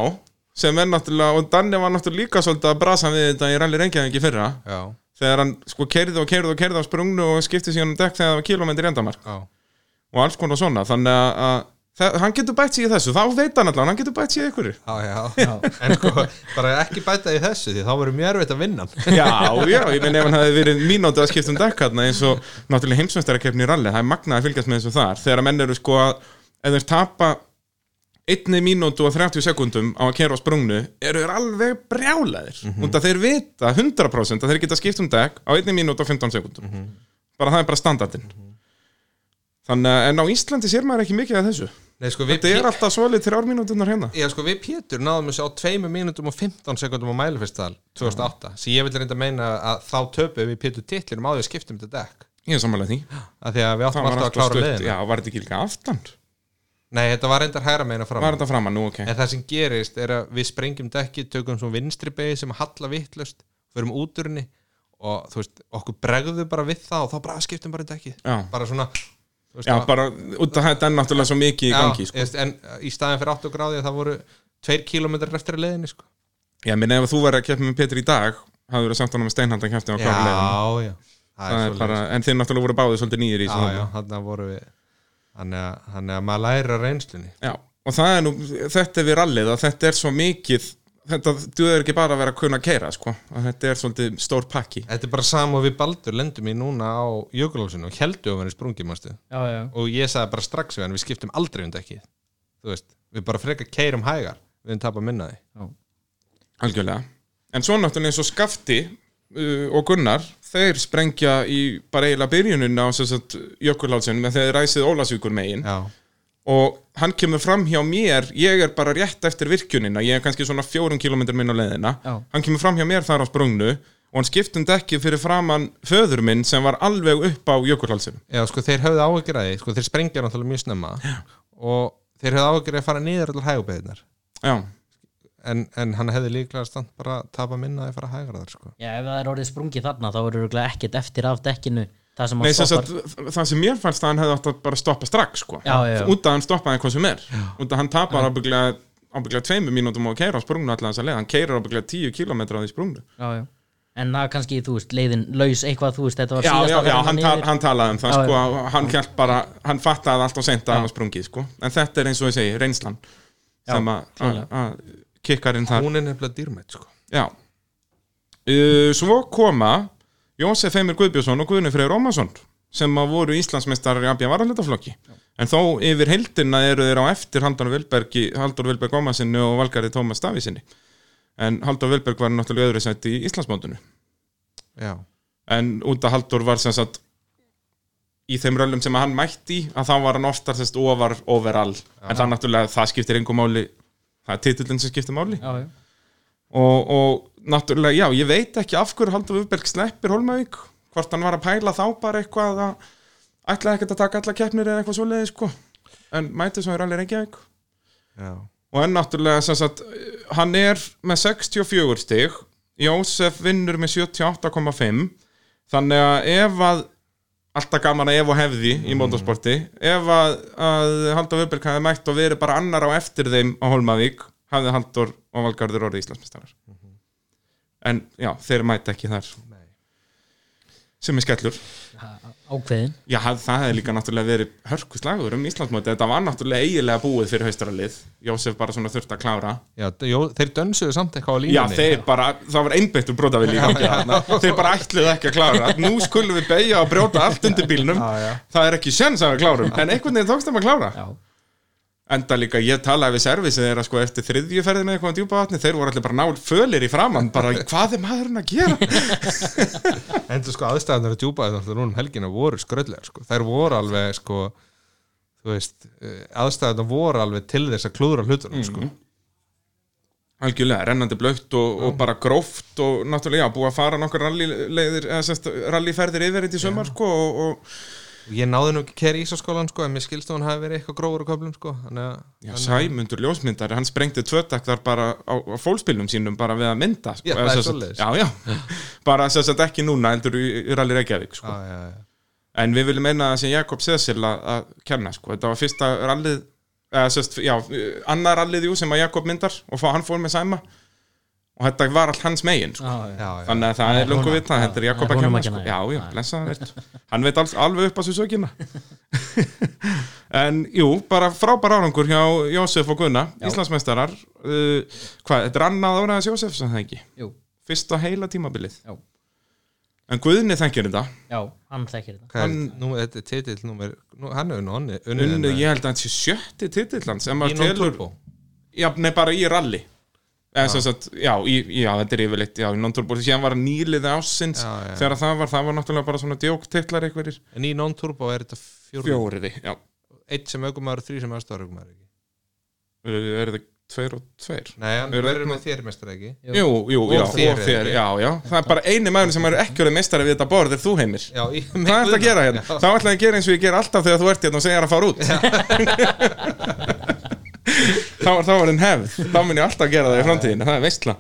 Speaker 1: sem er náttúrulega, og Danni var náttúrulega líka svolítið að brasa við þetta í rally reyngjæðingi fyrra
Speaker 3: já,
Speaker 1: þegar hann sko kerði og kerði og kerði á sprungnu og skipti síðan um dekk þegar það var kilometri endamark
Speaker 3: já,
Speaker 1: og alls konar svona þannig að, að það, hann getur bætt sig í þessu þá veit hann allan, hann getur bætt sig í ykkur
Speaker 3: já, já. en sko, bara ekki bæta í þessu því þá verður mjög erfitt að <laughs> vinna hann.
Speaker 1: Já, já, ég meina ef hann hefði verið mínútið að skipta um dekk hann eins og náttúrulega heimsvæmstærakeppni í ralli það er magnað að fylgjast með þessu þar þegar að menn eru sko að ef þeir tapa einni mínútu og 30 sekundum á að kera á sprungnu eru þeir alveg brjálaðir
Speaker 3: Mhm.
Speaker 1: mm -hmm. þeir vita 100% að þeir geta skipt um dekk á einni mínútu og 15 sekundum
Speaker 3: Mhm.
Speaker 1: bara það er bara standardinn þannig að en á Íslandi sér maður ekki mikið af þessu
Speaker 3: Nei, sko, við,
Speaker 1: þetta er alltaf svolítið þrjár mínútunar hérna
Speaker 3: já, sko, við Pétur náðum þessu á 2 mínútum og 15 sekundum á mælifestal 2008,
Speaker 1: Mm.
Speaker 3: sem ég vil reynda að meina að þá töpuðum við Pétur titlinum á því að skiptum þetta dekk,
Speaker 1: ég er samanlega því
Speaker 3: af því að við
Speaker 1: það
Speaker 3: áttum
Speaker 1: var
Speaker 3: alltaf að
Speaker 1: alltaf
Speaker 3: klára
Speaker 1: stutt,
Speaker 3: leðin
Speaker 1: já, var þetta ekki líka aftan
Speaker 3: nei, þetta var reyndar hægra meina fram
Speaker 1: var þetta framan, nú ok
Speaker 3: en það sem gerist er að við sprengjum dekki tökum svona vinstri beigð sem halla vittlust förum út úr henni og þú veist, okkur bregðu bara við það og þá bara "Ah, skiptum bara dekki
Speaker 1: Já.
Speaker 3: bara svona þú veist,
Speaker 1: Já,
Speaker 3: að-
Speaker 1: bara, út af þetta er náttúrulega svo mikið í gangi,
Speaker 3: ég
Speaker 1: sko.
Speaker 3: veist, en í staðin fyrir 8 gráði það voru 2 kilometrar eftir að leiðinni sko.
Speaker 1: Ég minn, ef þú verður að keppa með Petri í dag, hafðu verið samt ánum með steinhandan kæftin á klára leiðin.
Speaker 3: já
Speaker 1: Það er bara, en þið náttúrulega voru báðið svolítið nýjir í þessu.
Speaker 3: já, já, þannig að voru við þannig að, þannig að maður læra reynslunni
Speaker 1: Já, og það er nú, þetta er við rallið að þetta er svo mikið, þetta duður ekki bara að vera að kunna að keira, sko. Að þetta er svolítið stór pakki.
Speaker 3: þetta er bara sama og við Baldur lendum í núna á Jökulálsinu og heldum að vera í sprungimastu
Speaker 2: Já, já
Speaker 3: og ég sagði bara strax við hann við skiptum aldrei um dekkið þú veist, við bara frekar keirum hægar við við höfum tapað minna því
Speaker 1: Algjörlega En svo náttúrulega eins og Skafti uh, og Gunnar Þeir sprengja í bara eiginlega byrjunin á Jökulhálsinn með þeir ræsið Ólasvíkur megin
Speaker 3: Já,
Speaker 1: og hann kemur fram hjá mér ég er bara rétt eftir virkjunina ég er kannski svona fjórum kilometr minn á leiðina
Speaker 2: Já.
Speaker 1: hann kemur fram hjá mér þar á sprungnu og hann skiptum dekki fyrir framann föður minn sem var alveg upp á Jökulhalsinn
Speaker 3: Já sko þeir höfðu áhyggjur að því sko þeir sprengja náttúrulega mjög snemma Já. og þeir höfðu áhyggjur að fara niður allar hægubeginar
Speaker 1: já,
Speaker 3: en, en hann hefði líklega stand bara tapað minna að fara hægra þar sko
Speaker 2: Já, ef það er orðið sprungið þarna þá eru örugglega ekkert eftir af dekkinu það sem
Speaker 1: Nei,
Speaker 2: hann
Speaker 1: sem
Speaker 2: stoppar
Speaker 1: sagt, það sem mér fannst að hann hefði átt að bara stoppa strax sko.
Speaker 2: Já, já, já.
Speaker 1: út að hann stoppaði hvað sem er út að hann tapar ábygglega ábygglega tveimur mínútum á að keira á sprungnu allan þess að leið hann keirar ábygglega tíu kilometra á því sprungnu
Speaker 2: já, já. En það er kannski, þú veist, leiðin laus eitthvað, þú veist, þetta var
Speaker 1: já,
Speaker 2: síðasta
Speaker 1: já, já,
Speaker 2: ferðin
Speaker 1: hann, tal,
Speaker 2: niður.
Speaker 1: hann talaði um það
Speaker 2: Já,
Speaker 1: sko,
Speaker 2: já.
Speaker 1: að hann held bara, hann fattaði allt og seint að hann var sprungið sko. en þetta er eins og ég segi, reynslan sem að- að að kikkarinn þar
Speaker 3: Hún er nefnilega dýrmætt sko
Speaker 1: já uh, svo koma Jósef Heimir Guðbjörnsson og Guðni Freyr Ómarsson sem að voru Íslandsmeistarar í Abja Varalitaflokki en þó yfir heildina eru þeir á eftir Haldur Vilberg, Haldur Vilberg Ómarsinni og Valgarði Tómas Davísinni en Haldur Vilberg var náttúrulega í öðru sætt í Íslandsmóndinu
Speaker 3: Já,
Speaker 1: en út að Haldur var sem sagt í þeim röllum sem hann mætti í, að þá var hann oftar sérst ofar overall, en það náttúrulega það skiptir engum máli, það er titillin sem skiptir máli
Speaker 2: Já, já.
Speaker 1: og, og náttúrulega, já, ég veit ekki af hverju Haldur Vufberg sleppir Holmavík hvort hann var að pæla þá bara eitthvað að ætlaði ekkert að taka alla keppnir eða eitthvað svoleiði sko, en mæti svo er alveg Reykjavík
Speaker 3: já,
Speaker 1: og enn náttúrulega sem sagt, hann er með 64 stig Jósef vinnur með 78,5 þannig að ef að alltaf gaman að ef og hefði í motorsporti ef að, að Haldur Vöberg hafði mætt og verið bara annar á eftir þeim á Holmavík hafði Haldur og Valgarður orðið Íslandsmeistarar en já, þeir mæta ekki þar
Speaker 3: nei
Speaker 1: sem er skellur
Speaker 2: Ákveðin.
Speaker 1: Já, það- það hefði líka náttúrulega verið hörkuslagur um Íslandsmóti, þetta var náttúrulega eiginlega búið fyrir haustaralið, Jósef bara svona þurft að klára
Speaker 3: Já, jó, þeir dönsuðu samt
Speaker 1: Já,
Speaker 3: eitthvað á línunni
Speaker 1: þeir bara, það var einbeittur brótavili í gangi þarna Þeir bara ætluðu ekki að klára Nú skulum við beigja og brjóta allt undir bílnum
Speaker 3: Já, já.
Speaker 1: Það er ekki sjens að við klárum En einhvern veginn tókst þeim að klára
Speaker 2: Já.
Speaker 1: Enda líka, ég talaði við servisið þeirra sko eftir þriðju ferðina eitthvað á djúpa vatni Þeir voru allir bara nál fölir í framann Bara, hvað er maðurinn að
Speaker 3: <laughs>
Speaker 1: gera?
Speaker 3: En þú sko aðstæðanar að djúpa þetta núna um helgina voru skröldlegar sko. Þær voru alveg sko þú veist, aðstæðanar voru alveg til þess að klúðra hlutunum
Speaker 1: Mhm.
Speaker 3: sko.
Speaker 1: Algjörlega, rennandi blögt og, og bara gróft Og náttúrulega, já, búið að fara nokkur rallyleiðir eða sérst, rallyferðir yfir þetta í sumar sko og, og,
Speaker 3: Og Ég náði nú ekki kæri ísaskólan sko en mér skilst að hún hafi verið eitthvað grófur á köflum sko. Þannig að,
Speaker 1: Já, Sæmundur ljósmyndari, hann sprengdi tvötaktar bara á, á fólkspilnum sínum bara við að mynda sko,
Speaker 3: Já,
Speaker 1: eða
Speaker 3: það er
Speaker 1: sem sagt-
Speaker 3: svoleiðis.
Speaker 1: Já, <laughs> já, bara sem sagt ekki núna heldur í, í Rally Reykjavík sko.
Speaker 3: já, já, já.
Speaker 1: En við viljum meina það sem Jakob Sesil að, að kenna sko. Þetta var fyrsta rallið eða, sem sagt, já, annar rallið jú sem að Jakob myndar og fá, hann fór með Sæma og þetta var allt hans megin sko.
Speaker 2: Já, já.
Speaker 3: Já, já.
Speaker 1: Þannig að það er lungu
Speaker 2: honum-
Speaker 1: vita, þetta er
Speaker 2: já,
Speaker 1: Jakob
Speaker 2: það
Speaker 1: að
Speaker 2: er honum
Speaker 1: kenna
Speaker 2: að
Speaker 1: sko.
Speaker 2: kenna,
Speaker 1: Já,
Speaker 2: já.
Speaker 1: já, blessa það veit Hann veit alls, alveg upp á svo sökina <laughs> En jú, bara frábær árangur hjá Jósef og Gunna, Íslandsmeistarar uh, Hvað, þetta er annað áraðis Jósef sem það ekki,
Speaker 2: Jú,
Speaker 1: fyrsta heila tímabilið
Speaker 2: Já.
Speaker 1: En Guðni þenkir þetta
Speaker 2: já, hann þekkir þetta.
Speaker 3: Hvað er, nú, þetta er titill númer, nú, hann hefur nú onni, hérna.
Speaker 1: Unnu, ég held að þetta sé sjötti titillans sem maður telur,
Speaker 3: Turbo.
Speaker 1: já, nei, bara í rally Eða, sem sagt, já, í, já, þetta er yfirleitt, já, í non-turbo síðan var nýliði ásins
Speaker 3: Já, já.
Speaker 1: þegar það var, það var náttúrulega bara svona djóktitlar einhverjir
Speaker 3: En í non-turbo er þetta fjóri.
Speaker 1: Fjóriði, já
Speaker 3: Eitt sem aukumæður, þrý sem aðstofar ekki.
Speaker 1: Eru er það tveir og tveir?
Speaker 3: Nei, hann
Speaker 1: Eru-
Speaker 3: verður með þér mestar ekki.
Speaker 2: Jú.
Speaker 1: Jú, jú, já, og
Speaker 3: þér,
Speaker 1: þér, já, já Það er bara eini maður sem er ekki orðið meistari við þetta borð er þú heimir
Speaker 3: Já, ég,
Speaker 1: Hvað ert að gera hérna? Þá ætlaði að gera eins og ég ger alltaf þegar þú ert hérna og segir að fara út <laughs> Þá var þá var þinn hefð Þá mun ég alltaf gera það í framtíðinu, það er veistla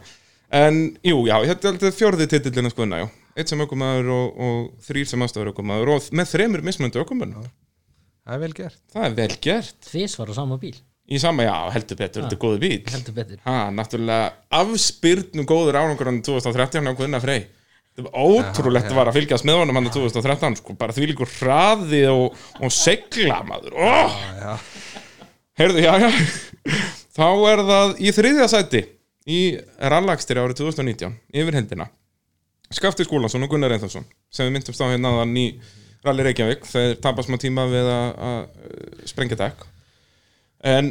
Speaker 1: En, jú, já, þetta er alltaf fjórði titillina sko, na, já Eitt sem aukumæður og, og þrýr sem aðstofur aukumæður og með þremur mismunandi aukumæður
Speaker 3: Það er vel gert.
Speaker 1: Það er vel gert
Speaker 2: Tvís var á sama bíl,
Speaker 1: Í sama, já, heldur betur, þetta er góð bíl
Speaker 2: heldur betur.
Speaker 1: Ha, náttúrulega afspyrnum góður árangur hann 2013 á Guðna Frey Það var ótrúlegt var að fylgjast með honum hann á 2013 sko, bara því líkur hraði og, og segla maður oh!
Speaker 3: já.
Speaker 1: Heyrðu, já, já Þá er það í þriðja sæti í rallakstri árið 2019 yfir hendina Skafti Skúlansson og Gunnar Reynthansson sem við myndumst á hérna þann í Rally uh, Reykjavík þeir tapast maður tíma við að- að eh, sprengja dekk en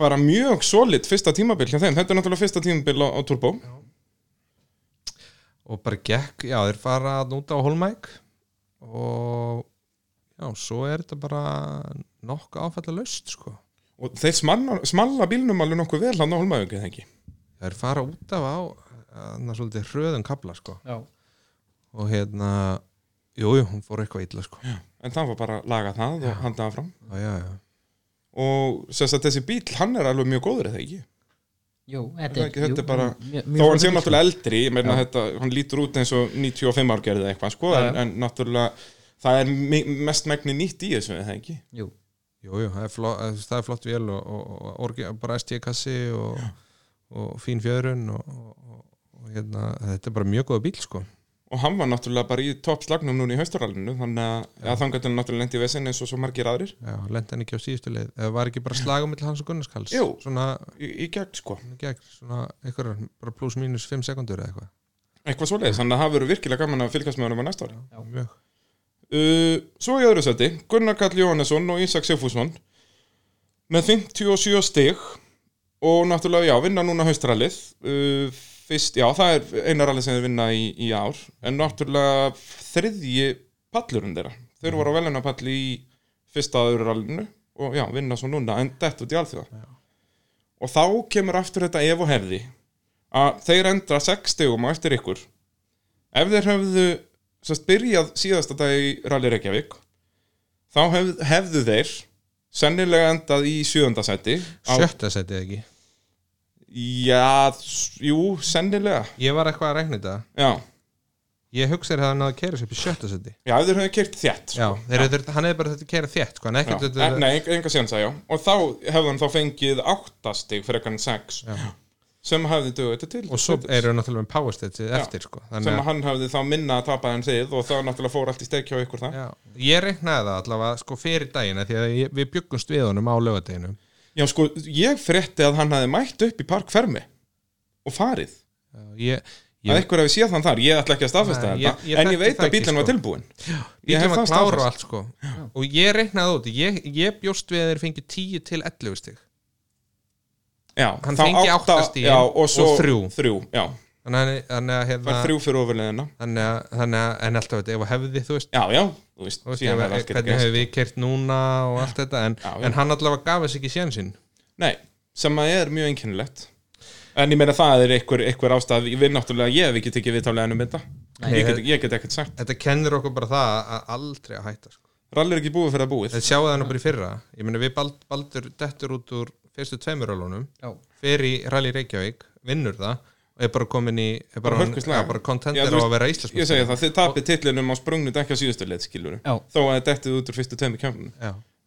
Speaker 1: bara mjög solid fyrsta tímabil hjá þeim, þetta er náttúrulega fyrsta tímabil á, á Turbo
Speaker 3: og bara gekk, já þeir fara þarna út á Holmæk og já, svo er þetta bara nokkuð áfælla löst sko.
Speaker 1: og þeir smanna, smalla bílnum alveg nokkuð vel hann á Holmavík eða ekki
Speaker 3: þeir fara út af á þannig svolítið hröðum kabla sko.
Speaker 2: Já.
Speaker 3: og hérna jújú, jú, hún fór eitthvað illa sko. já,
Speaker 1: en það var bara að laga það og handa það fram
Speaker 3: já, já.
Speaker 1: og sem sagt þessi bíl, hann er alveg mjög góður eða ekki
Speaker 2: Jú,
Speaker 1: Það
Speaker 2: þetta
Speaker 1: er
Speaker 2: er,
Speaker 1: ekki- þetta
Speaker 2: jú,
Speaker 1: er bara- þá
Speaker 2: mjög- mjög
Speaker 1: er hann
Speaker 2: flottur
Speaker 1: sem
Speaker 2: bíll, sko.
Speaker 1: náttúrulega eldri ég meina þetta, hann lítur út eins og 95 ár gerði eitthvað sko,
Speaker 2: Já, já.
Speaker 1: en, en náttúrulega það er mi- mest megni nýtt í þessu eða ekki
Speaker 2: Jú,
Speaker 3: Jú, jú, það er flott, það er flott vél og, og, og orgi, bara ST-kassi og, og fín fjörun og, og, og, og hérna, þetta er bara mjög góða bíl sko.
Speaker 1: og hann var náttúrulega bara í toppslagnum núna í haustarallinu þannig að ja. þangat hann náttúrulega lendi í vesenni eins og svo margir aðrir
Speaker 3: Já, lendi hann ekki á síðustu leið eða var ekki bara slagum mill hans og Gunnarskalls
Speaker 1: Jú.
Speaker 3: svona,
Speaker 1: í, í gegn sko,
Speaker 3: gegn, svona einhverjar, bara pluss mínus 5 sekundur eða eitthvað
Speaker 1: eitthvað svoleiðis þannig að það verður virkilega gaman að fylgjast með honum á næsta ári
Speaker 2: Já.
Speaker 3: Mjög.
Speaker 1: uh, Svo í öðru seti Gunnar Kall Jóhannesson og Ísak Sigfússon með 57 stig og náttúrulega já, vinna núna haustrallið uh, fyrst, já, það er einar rallið sem þeir vinna í, í ár en náttúrulega þriðji pallurinn þeirra þeir voru á velunapalli í fyrsta og öðru rallinu og já, vinna svo núna en dett út í alþjóða og þá kemur aftur þetta ef og hefði að þeir endra 6 stigum á eftir ykkur ef þeir höfðu sérst byrjað síðasta dag í Rally Reykjavík þá hef, hefðu þeir sennilega endað í sjöunda seti á,
Speaker 3: sjötta setið ekki
Speaker 1: já, s- jú, sennilega
Speaker 3: ég var eitthvað að regna þetta
Speaker 1: já,
Speaker 3: ég hugsa þér að hann að kæra sér upp í sjötta seti
Speaker 1: já ef þeir höfðu kert þétt sko.
Speaker 3: Já, þeir, þeir, hann hefði bara þetta að kæra þétt sko, en
Speaker 1: Já,
Speaker 3: ekkert þetta
Speaker 1: en- nei, enga- enga séansa, já og þá hefðu hann þá fengið áttastig fyrir ekkan sex
Speaker 3: Já.
Speaker 1: sem hefði dögðu þetta til
Speaker 3: og svo eru náttúrulega með power stage eftir sko,
Speaker 1: sem
Speaker 3: þannig
Speaker 1: að
Speaker 3: að
Speaker 1: hann hefði þá minna að tapa en þið og það náttúrulega fór allt í steik hjá ykkur það
Speaker 3: Já, ég reiknaði það allavega sko fyrir dagina því að ég, við bjöggumst við honum á lögadeginu
Speaker 1: Já, sko, ég frétti að hann hafi mætt upp í parkfermi og farið
Speaker 3: ég,
Speaker 1: að
Speaker 3: ég,
Speaker 1: einhver hefði séð hann þar, ég ætla ekki að staðfesta
Speaker 3: Nei,
Speaker 1: þetta
Speaker 3: ég- ég
Speaker 1: en ég
Speaker 3: þekki
Speaker 1: veit
Speaker 3: það
Speaker 1: að
Speaker 3: ekki,
Speaker 1: bílinn
Speaker 3: sko.
Speaker 1: var tilbúin ég
Speaker 3: bílum
Speaker 1: hef
Speaker 3: að
Speaker 1: það
Speaker 3: klára og
Speaker 1: staðfest.
Speaker 3: allt sko og ég reiknaði það út, ég, ég bjóst við að þeir fengi 10 til 11 stig
Speaker 1: já,
Speaker 3: Hann
Speaker 1: þá
Speaker 3: fengi
Speaker 1: átta-
Speaker 3: átta stigin
Speaker 1: já, og, svo,
Speaker 3: og þrjú.
Speaker 1: já,
Speaker 3: þannig að- þannig að
Speaker 1: það
Speaker 3: hérna,
Speaker 1: er þrjú fyrir ofurleðina
Speaker 3: þannig að, þannig að en alltaf þetta, ef að hefði þú veist,
Speaker 1: já, já, þú veist,
Speaker 3: þú veist
Speaker 1: síðan
Speaker 3: ef,
Speaker 1: hefði allt getað
Speaker 3: hvernig
Speaker 1: gerst.
Speaker 3: hefur við kert núna og allt þetta en,
Speaker 1: Já, já.
Speaker 3: en hann allavega gaf þess ekki sénsinn
Speaker 1: nei, sem að er mjög einkennilegt en ég meina það er einhver, einhver ástæð við náttúrulega, ég hef ekki tekið viðtálega ennum þetta ég get, ég get ekkert sagt
Speaker 3: þetta kennir okkur bara það að aldrei að hætta sko.
Speaker 1: rall er ekki búið fyrir að búið
Speaker 3: þetta sjáðu það nú bara í fyrra ég meni við bald, baldur dettur út úr fyrstu tveimur alunum
Speaker 2: já,
Speaker 3: fer í Rally Reykjavík, vinnur það og er bara komin í er bara,
Speaker 1: hörkuslag.
Speaker 3: ja, bara
Speaker 1: Já,
Speaker 3: kontender
Speaker 1: þú
Speaker 3: á
Speaker 1: veist,
Speaker 3: að vera
Speaker 1: ég
Speaker 3: Íslandsmynd
Speaker 1: segja það, þið tapir tillinum á sprungnu dekka síðustu leið skilur
Speaker 2: Já.
Speaker 1: þó að þetta dettið út úr fyrstu tveimur kemnum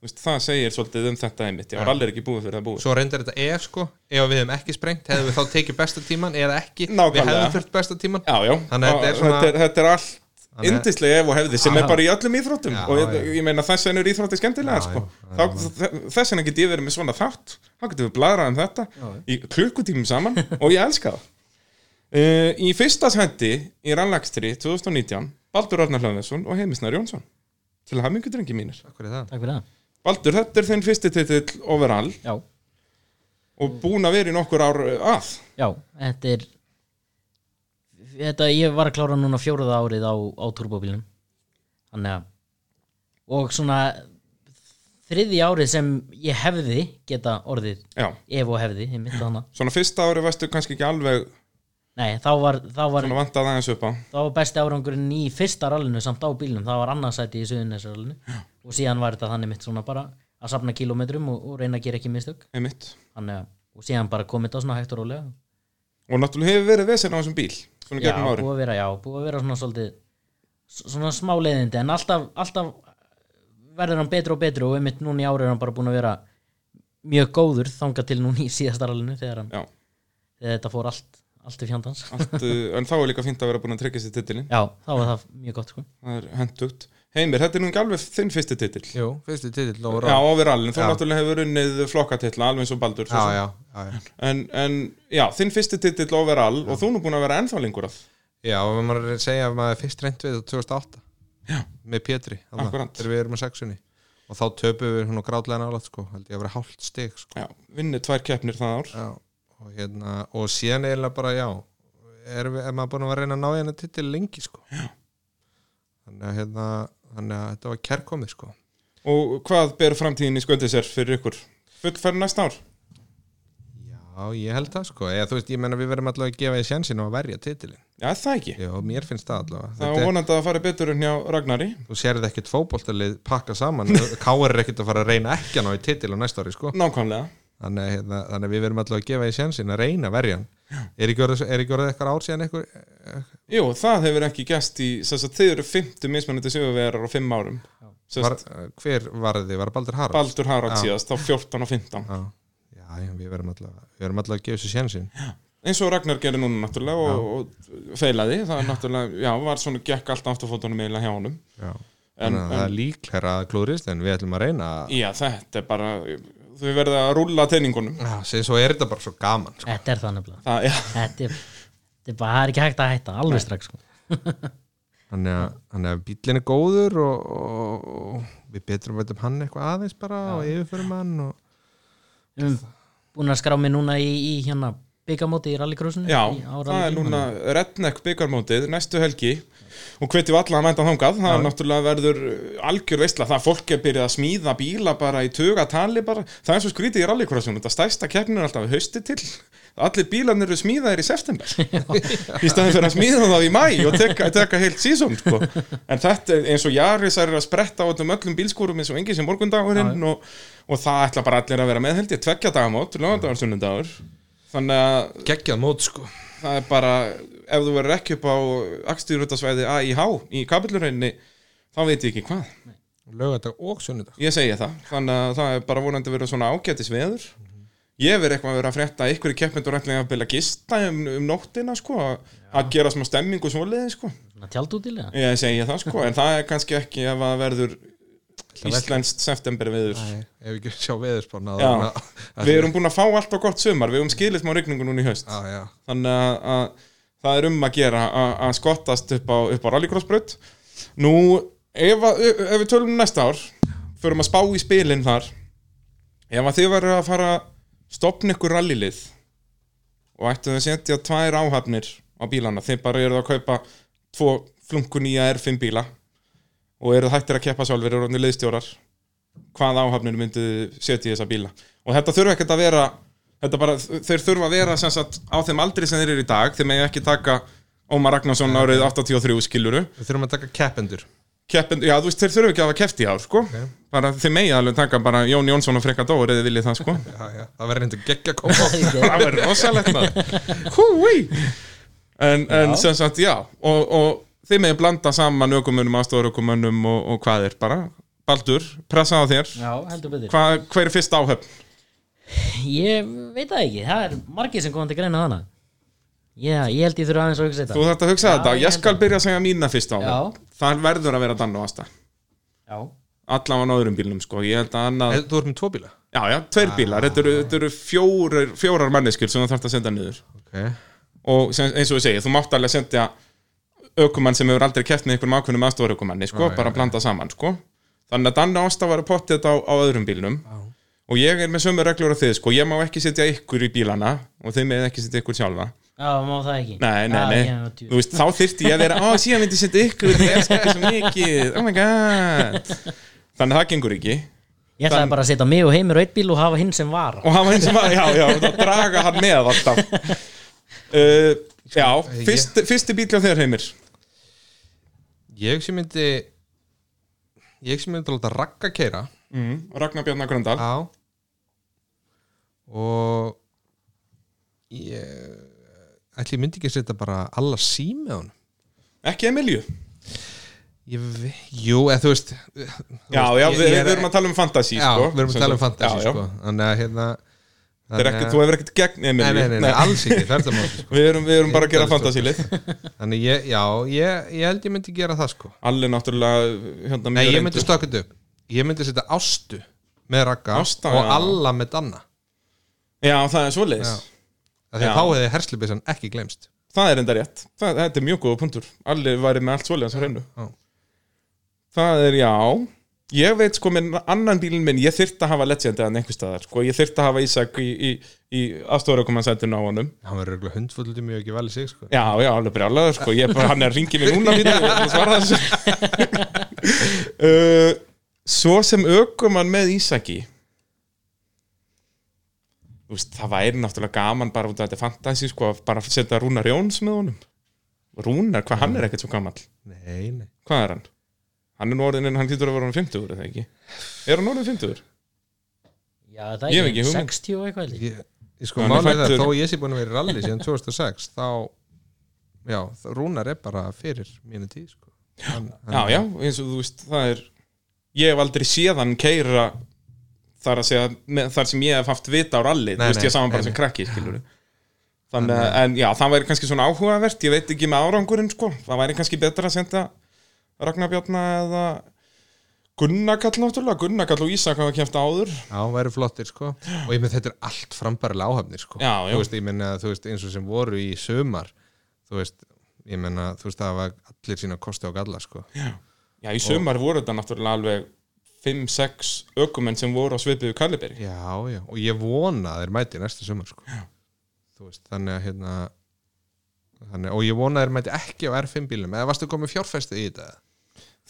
Speaker 1: Vist, það segir svolítið um þetta einmitt, já,
Speaker 3: Já.
Speaker 1: rally er ekki búið fyrir að búið
Speaker 3: svo reyndar þetta ef sko ef við hefum ekki sprengt, hefðum við þá tekið besta tíman eða ekki,
Speaker 1: Nákvæmlega.
Speaker 3: við hefðum þurft besta tíman
Speaker 1: Já, já,
Speaker 3: Þannig að þetta er
Speaker 1: Og
Speaker 3: svona-
Speaker 1: þetta, er, þetta er allt
Speaker 3: Þannig að-
Speaker 1: yndislega ef og hefði sem
Speaker 2: Já.
Speaker 1: er bara í öllum íþróttum
Speaker 3: Já,
Speaker 1: og ég,
Speaker 3: já.
Speaker 1: ég meina þess vegna er íþrótti skemmtilega
Speaker 3: Já,
Speaker 1: sko.
Speaker 3: já,
Speaker 1: Þá, þ- þess vegna get ég verið með svona þátt þá getum við bladrað um þetta í klukkutímum saman og ég elska það uh, Í fyrsta sendi í rannlagstri 2019 Baldur Arnar Hlöðnesson og Heimisnar Jónsson til að hafa mjög drengi mínir
Speaker 3: Takk fyrir það.
Speaker 2: takk fyrir það
Speaker 1: Baldur, þetta er þinn fyrsti titill overall
Speaker 2: Já,
Speaker 1: og búin að vera í nokkur ár uh, að
Speaker 2: já, þetta er þetta, ég var að klára núna fjóruða árið á, á turbóbílnum þannig að og svona þriði árið sem ég hefði geta orðið
Speaker 1: Já,
Speaker 2: ef og hefði, ég myndi hana
Speaker 1: svona fyrsta ári varstu kannski ekki alveg
Speaker 2: Nei, þá var, þá var,
Speaker 1: svona vantað aðeins upp á
Speaker 2: þá var besti árangurinn í fyrsta rallinu samt á bílnum, það var annarsæti í suðunnesrallinu og síðan var þetta þannig mitt svona bara að safna kilometrum og, og reyna að gera ekki mistök
Speaker 1: einmitt
Speaker 2: þannig að, og síðan bara komið þetta svona hægt og rólega
Speaker 1: og náttúrulega hefur verið vesen á þessum bíl svona
Speaker 2: já,
Speaker 1: gegnum árin
Speaker 2: búið að vera, já, búið að vera svona svolítið svona smá leiðindi en alltaf, alltaf verður hann betri og betri og einmitt núna í ári er hann bara búin að vera mjög góður þangað til núna í síðasta rallinu þegar, hann,
Speaker 1: já,
Speaker 2: þegar þetta fór allt, allt í fjandans
Speaker 1: allt, uh, <laughs> en þá er líka fínt að vera búin að tryggja sér titilin
Speaker 2: já, þá var það mjög gott sko
Speaker 1: það er hendugt Heimir, þetta er nú ekki alveg þinn fyrsti titil
Speaker 3: Jú, fyrstu titill og
Speaker 1: já,
Speaker 3: ráð.
Speaker 1: overall, en þú
Speaker 3: Já.
Speaker 1: náttúrulega hefur unnið flokkatitla alveg eins og Baldur svo sem.
Speaker 3: já, já, já.
Speaker 1: En, en já, þinn fyrsti titil overall og þú nú búin að vera ennþá lengur að
Speaker 3: Já, og maður er að segja að maður er fyrst reynd við þetta 2008 já. með Pétri, þarna,
Speaker 1: Akkúrat.
Speaker 3: þegar við erum að sexunni og þá töpuðum við svona grátlega nálægt sko, held ég að vera hálft stig sko.
Speaker 1: já, vinnu tvær keppnir það ár
Speaker 3: já, og, hérna, og síðan eiginlega bara já er, við, er maður búin að vera að reyna að ná hérna titil lengi sko. þannig, að, hérna, þannig að þetta var kærkomið sko.
Speaker 1: og hvað ber framtíðin í sköldið sér fyrir ykkur fullferð næsta ár
Speaker 3: já, ég held það sko. Eða, þú veist, ég menna við verðum allavega að gefa í sjansinu að verja titilin
Speaker 1: já, er það ekki,
Speaker 3: já, mér finnst það allavega
Speaker 1: það
Speaker 3: Þetta
Speaker 1: er
Speaker 3: er-
Speaker 1: vonandi að það fari betur en hjá Ragnari
Speaker 3: þú sérði ekkit fótboltalið pakka saman <laughs> Káar er ekkit að fara að reyna ekki að ná í titil á næsta ári sko.
Speaker 1: nákvæmlega
Speaker 3: þannig, að, hérna, þannig að við verðum allavega að gefa í sjansin að reyna að verja hann er ekki orðið er ekki orðið eitthvað ár síðan eitthvað
Speaker 1: Jú, það hefur ekki gæst í þess að þið eru 50 mismunandi sigurvegarar á 5 árum Sest,
Speaker 3: var, hver var þið, var Baldur Harald
Speaker 1: Baldur Harald síðast, þá 14 og 15
Speaker 3: já, já, já, við verðum allavega við verðum allavega að gefa þessu sjansin
Speaker 1: eins og Ragnar gerir núna náttúrulega og, og feilaði, það er náttúrulega já, var svona, gekk allt afturfótunum eiginlega hjá honum
Speaker 3: já.
Speaker 1: en,
Speaker 3: þannig að það
Speaker 1: en
Speaker 3: er líklega að klúrist en við ætlum að reyna að
Speaker 1: já, þetta er bara þau verða að rúlla teiningunum
Speaker 3: já, sem svo er þetta bara svo gaman sko.
Speaker 2: Þetta er það nefnilega
Speaker 1: það, já,
Speaker 2: Þetta er, þetta er bara, það er ekki hægt að hætta alveg strax sko.
Speaker 3: þannig að, þannig að bíllinn er góður og, og, og við betrum veitum hann eitthvað aðeins bara og yfirförum hann og
Speaker 2: Við erum búin að skrá mig núna í, í hérna byggamóti í rallycrossinu
Speaker 1: já
Speaker 2: í- á
Speaker 1: það er
Speaker 2: rallycrossinu.
Speaker 1: núna Redneck byggarmótið næstu helgi og hvetjum alla að mænta þangað það er náttúrulega verður uh, algjör veistla það fólk er byrjað að smíða bíla bara í tugatali bara, það er svo skrítið í rallycrossunum þetta stæsta keppnir alltaf við hausti til allir bílarnir eru smíðaðir í september í staðin fyrir að smíða það í mæ og teka, teka heilt sísón sko. en þetta er eins og Jaris er að spretta á öllum öllum bílskúrum eins og engi sem morgundagurinn og, og það ætla bara allir að vera með held ég tveggja dagamót, lögandagur, sunnundagur þannig að
Speaker 3: geggjað mót sko
Speaker 1: það er bara ef þú verður ekki upp á akstýrútasvæði AIH í kapillurheinni þá veit ég ekki hvað
Speaker 3: lögadag og sunnudag
Speaker 1: ég segi það, þannig að það er bara vonandi verið svona ágætis veður ég verið eitthvað að vera að frétta að ykkur í keppindur ætlaði að byrja að gista um, um nóttina sko, að gera smá stemming og svoleiði sko.
Speaker 2: Svona tjaldútilega
Speaker 1: ég segi það sko, en það er kannski ekki ef að verður
Speaker 3: vel.
Speaker 1: íslenskt september veður
Speaker 3: ef ekki sjá veðurspána
Speaker 1: Já. við erum búin að fá allt og gott sumar við erum skilist má rigningu núna í haust
Speaker 3: já, já,
Speaker 1: þannig að, að það er um að gera að, að skottast upp á, upp á rallycrossbraut nú ef, að, ef við tölum næsta ár förum að spá í spilin þar ef að þið verður að fara að stopna ykkur rallylið og ættu að setja tvær áhafnir á bílana, þið bara eruð að kaupa tvo flunkun í að R5 bíla og eruð hættir að keppa sjálfur og orðinu liðstjórar hvað áhafnir myndu setja í þessa bíla og þetta þurfa ekkert að vera þetta bara, þeir þurfa að vera sem sagt, á þeim aldri sem þeir eru í dag þeir megin ekki taka Ómar Ragnarsson árið 83 skiluru
Speaker 3: við þurfum að taka keppendur
Speaker 1: Keppin, já, þú veist, þeir þurfa ekki að hafa keppt í ár sko. bara þeir megin alveg taka bara Jón Jónsson og Frekka Dóri eða viljið það sko.
Speaker 3: já, já, það verður hendur geggja
Speaker 1: <laughs>
Speaker 3: koma
Speaker 1: það verður rosalegt maður. Húi en, en sem sagt, já og, og þeir megin blanda saman ökumunum, aðstofarökumunum og, og hvað er bara Baldur, pressa á þér
Speaker 2: Já, heldur betur
Speaker 1: Hva, hver er fyrst áhöfn?
Speaker 2: Ég veit það ekki, það er margir sem komandi greina þannig Já, ég held ég þurfa aðeins að hugsa
Speaker 1: Þú
Speaker 2: þetta
Speaker 1: þarft að hugsa
Speaker 2: Já,
Speaker 1: þetta,
Speaker 2: ég
Speaker 1: ég
Speaker 2: held
Speaker 1: skal byrja að segja mína fyrst áhöfn
Speaker 2: Já.
Speaker 1: Það verður að vera dann og aðstæð
Speaker 2: Já,
Speaker 1: allan á öðrum bílnum sko ég held að annað,
Speaker 3: þú erum með tvo bíla
Speaker 1: já já, tveir bílar þetta eru, þetta eru fjórar, fjórar manneskjur sem þú þarfst að senda niður
Speaker 3: okay.
Speaker 1: og sem, eins og ég segi, þú mátt alveg sendja ökumann sem hefur aldrei keft með einhverjum ákveðnum aðstofarökumanni sko,
Speaker 3: Já, já,
Speaker 1: bara blanda saman sko þannig að Danna Ásta var að potta þetta á, á öðrum bílnum og ég er með sömu reglur á þið sko, ég má ekki setja ykkur í bílana og þið með ekki setja ykkur sjálfa
Speaker 2: já, má það ekki
Speaker 1: Nei, nei,
Speaker 2: Já,
Speaker 1: nei,
Speaker 2: já, djú.
Speaker 1: þú veist, þá þyrfti ég að vera Ó, síðan myndi ég setja ykkur, ég elska það svo mikið Oh my god Þannig að það gengur ekki
Speaker 2: Ég ætlaði bara að setja mig og heimir á eitt bíl og hafa hinn sem vara
Speaker 1: og hann var eins og maður, já, já, það draga hann með alltaf uh, Já, fyrst, fyrsti bíl á þér heimir
Speaker 3: ég sem myndi ég sem myndi láta rakka keira
Speaker 1: mm, Ragnar Bjarnar Gröndal
Speaker 3: já og ég ætli ég myndi ekki að setja bara alla sími á hann
Speaker 1: Ekki Emilju
Speaker 3: ég, ve- jú, eða þú veist þú
Speaker 1: Já,
Speaker 3: veist,
Speaker 1: já,
Speaker 3: ég-
Speaker 1: við,
Speaker 3: ég er-
Speaker 1: við erum að tala um fantasy
Speaker 3: já,
Speaker 1: sko,
Speaker 3: við erum
Speaker 1: sem
Speaker 3: að tala um
Speaker 1: sagt.
Speaker 3: fantasy
Speaker 1: Já, já.
Speaker 3: sko. þannig að hérna
Speaker 1: Þetta er
Speaker 3: þannig
Speaker 1: ekki,
Speaker 3: að-
Speaker 1: Þú hefur ekkert gegn
Speaker 3: nei,
Speaker 1: Emilju
Speaker 3: nei, nei, nei, alls ekki, þetta má
Speaker 1: <laughs> Við erum, við erum bara að gera
Speaker 3: Ég-
Speaker 1: fantasylið
Speaker 3: þannig ég, já, ég, ég held ég myndi gera það sko
Speaker 1: Allir náttúrulega hérna,
Speaker 3: Nei,
Speaker 1: mjög
Speaker 3: ég
Speaker 1: reyndur.
Speaker 3: myndi stökkja þetta upp Ég myndi setja Ástu með Ragga
Speaker 1: Ásta, já.
Speaker 3: og Alla með Danna
Speaker 1: Já, það er svoleiðis
Speaker 3: Já. Af því
Speaker 1: Já.
Speaker 3: að þá hefði herslubisan ekki glemst
Speaker 1: Það er enda rétt, það, þetta er mjög góða punktur Allir væri með allt svoleiðans á hreinu
Speaker 3: Já.
Speaker 1: Það er já ég veit sko með annan bílinn minn ég þyrfti að hafa Legend eða einhver staðar sko. ég þyrfti að hafa Ísak í, í, í afstofurökumannsættinu á honum
Speaker 3: hann verður örugglega hundfullið mjög ekki vel í sig sko.
Speaker 1: já, já, alveg brjálaður sko. Ég er bara, hann er að ringi mig núna fyrir, ég er að svara þessu <laughs> uh, svo sem ökumann með Ísaki þú veist, það væri náttúrulega gaman bara út af þetta fantasi sko, að bara setja Rúnar Jóns með honum Rúnar, hvað hann er ekkert svo gamall
Speaker 3: nei, nei,
Speaker 1: Hvað er hann? Hann er nú orðin en hann hlýtur að vera hann 50 er það ekki? Er hann orðin 50
Speaker 2: Já, það
Speaker 1: Ég hef
Speaker 2: er
Speaker 1: ekki hugmynd.
Speaker 2: 60 og eitthvað held ég.
Speaker 3: ég, ég sko
Speaker 1: Hann er
Speaker 3: málega það
Speaker 1: fæddur-
Speaker 3: þó ég sé búin að vera í rally síðan 2006 þá, já, þá- Rúnar er bara fyrir mínu tíð sko. hann,
Speaker 1: Já, já, eins og þú veist, það er Ég hef aldrei séð hann keira þar að segja, með, þar sem ég hef haft vita á rally, þú
Speaker 3: Nei,
Speaker 1: veist, ég
Speaker 3: nei,
Speaker 1: sá hann bara
Speaker 3: nei,
Speaker 1: sem krakki, skilur Þannig að, en já, það væri kannski svona áhugavert Ég veit ekki með árangurinn, sko Það væri kannski betra að senda Ragnar Bjarna eða Gunnakall náttúrulega, Gunnakall og Ísak hafa kæft áður
Speaker 3: Já, hann væri flottir sko og ég með þetta er allt frambærilega áhafnir sko
Speaker 1: Já, já.
Speaker 3: þú veist, ég meina, þú veist, eins og sem voru í sömar þú veist, ég meina, þú veist, það var allir sína kosti og galla sko
Speaker 1: Já, í sumar voru þetta náttúrulega alveg 5-6 ökumenn sem voru á svipiðu Kaliberi
Speaker 3: Já, já, og ég vona að þeir mæti næsta sömar sko já. þú veist, þannig að hérna þannig, og ég vona að þeir mæti ekki á R5 bílum eða varstu komið fjárfæstið í þetta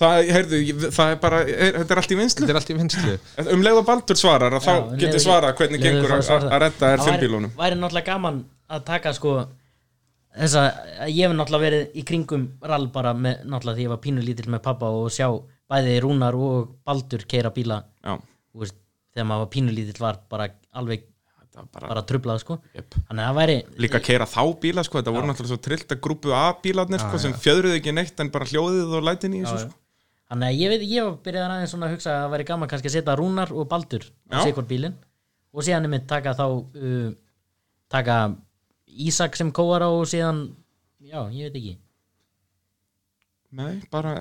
Speaker 1: Það, heyrðu, ég- það er bara, er, þetta er um allt í vinslu
Speaker 3: þetta er allt í
Speaker 1: <laughs>
Speaker 3: vinslu
Speaker 1: Um leið og Baldur svarar að þá
Speaker 2: Já, en
Speaker 1: geti
Speaker 2: leiðu-
Speaker 1: svarað hvernig
Speaker 2: leiðu
Speaker 1: gengur
Speaker 2: fá
Speaker 1: að,
Speaker 2: að svara
Speaker 1: að
Speaker 2: það.
Speaker 1: að redda
Speaker 2: Það
Speaker 1: R5
Speaker 2: væri-
Speaker 1: bílunum
Speaker 2: væri náttúrulega gaman að taka sko þessa, ég hef náttúrulega verið í kringum rall bara með, náttúrulega því ég var pínulítill með pappa og sjá bæði Rúnar og Baldur keira bíla
Speaker 1: Já,
Speaker 2: þú veist, þegar maður var pínulítill var bara alveg
Speaker 1: þetta var bara
Speaker 2: bara trublað sko
Speaker 1: Jep.
Speaker 2: þannig að það væri
Speaker 1: líka að keira þá bíla sko, þetta voru náttúrulega svo trillt að grúpu A bílarnir sko, sem fjöðruðu ekki neitt en bara hljóðið og lætin í þessu sko.
Speaker 2: þannig að ég veit ég var byrjaðan aðeins svona að hugsa að það væri gaman kannski að setja Rúnar og Baldur
Speaker 1: Já.
Speaker 2: á sikor bílinn og síðan er mitt taka þá uh, taka Ísak sem kóar á og síðan já, ég veit ekki
Speaker 1: Nei, bara,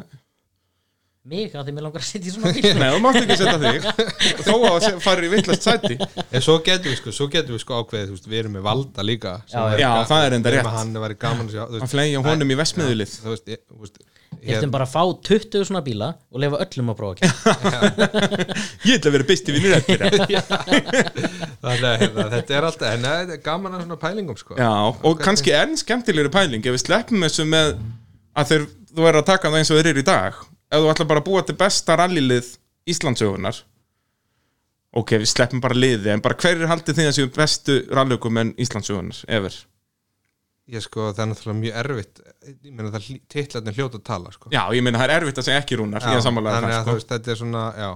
Speaker 2: mig að því mér langar að setja í svona bíl
Speaker 1: <laughs> nei, þú mátt ekki setja <laughs> þig þó að það sé- fari í vittlast sæti
Speaker 3: En svo getum við sko, svo getum við sko ákveðið, þú veist, við erum með valda líka sem
Speaker 2: Já,
Speaker 3: væri
Speaker 1: já.
Speaker 3: ga-
Speaker 1: Já, það er enda
Speaker 3: sem
Speaker 1: rétt.
Speaker 3: Hann væri gaman að sjá, þú
Speaker 1: að
Speaker 3: veist,
Speaker 1: flegja honum í vestmiðulið
Speaker 3: þú veist, ég, þú veist
Speaker 2: ég ætlum bara að fá 20 svona bíla og lefa öllum að prófa að
Speaker 1: <laughs>
Speaker 2: kemja
Speaker 1: Ég ætla að vera besti vinnur eftir það
Speaker 3: Þannig að hérna, þetta er alltaf, en þetta er gaman að svona pælingum sko
Speaker 1: Já, og kannski enn skemmtilegri pæling ef við sleppum þessu með að þeir, þú er að taka það eins og þeir eru í dag ef þú ætlar bara að búa til besta rallilið Íslandsögunar ok, við sleppum bara liði en bara hverjir haldið þið að séu bestu rallugum en Íslandsögunar, efer
Speaker 3: Ég sko, það er náttúrulega mjög erfitt Ég meina það titlarnir hljóta að tala sko
Speaker 1: Já, ég meina það er erfitt að segja ekki rúnar ég er sammálaður
Speaker 3: þannig
Speaker 1: það,
Speaker 3: að
Speaker 1: sko
Speaker 3: þú veist, þetta er svona, já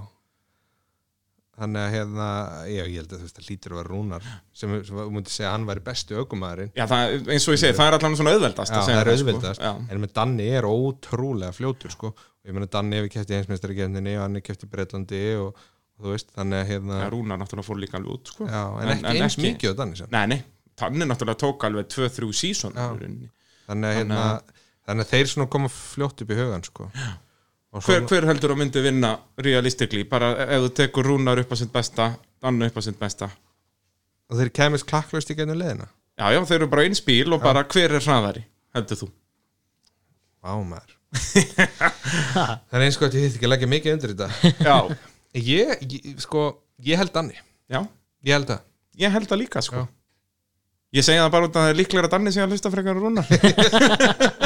Speaker 3: Þannig að hérna, já, ég held að þú veist, það lítur að vera rúnar sem, sem þú mútið segja að hann væri bestu ökumæðurinn
Speaker 1: Já, það, eins og ég segi, það er allan svona auðveldast að
Speaker 3: Já, það
Speaker 1: segja
Speaker 3: er
Speaker 1: sko.
Speaker 3: auðvildast
Speaker 1: Já.
Speaker 3: en með Danni er ótrúlega fljótur sko. og ég meina Danni hefur kæft í einsmestari og hann er kæft í Breitlandi og, og þú veist, þannig að hérna
Speaker 1: Já, Rúnar náttúrulega fór líka alveg út sko.
Speaker 3: já, en ekki eins mikið á Danni sem.
Speaker 1: Nei, nei, Tanni náttúrulega tók alveg 2-3 sísón
Speaker 3: þannig að hérna þannig að þeir svona koma fljótt upp í hugan sko. og svo,
Speaker 1: hver, hver heldur að myndi vinna realistically, bara e- ef þú tekur Rúnar upp á sitt besta, Dannu upp á sitt besta
Speaker 3: og þeir kemist klakklaust í gennum leðina
Speaker 1: já, já, þeir eru bara eins bíl og bara hver er hraðari, heldur þú
Speaker 3: Vá
Speaker 1: <laughs>
Speaker 3: maður það er eins og að ég hitt ekki að leggja mikið undir þetta
Speaker 1: <laughs> já,
Speaker 3: ég, ég, sko, ég held Danni
Speaker 1: já,
Speaker 3: ég held það
Speaker 1: ég held það líka sko ég segja það bara út að það er líklega að Danni sé að hlusta frekar en Rúnar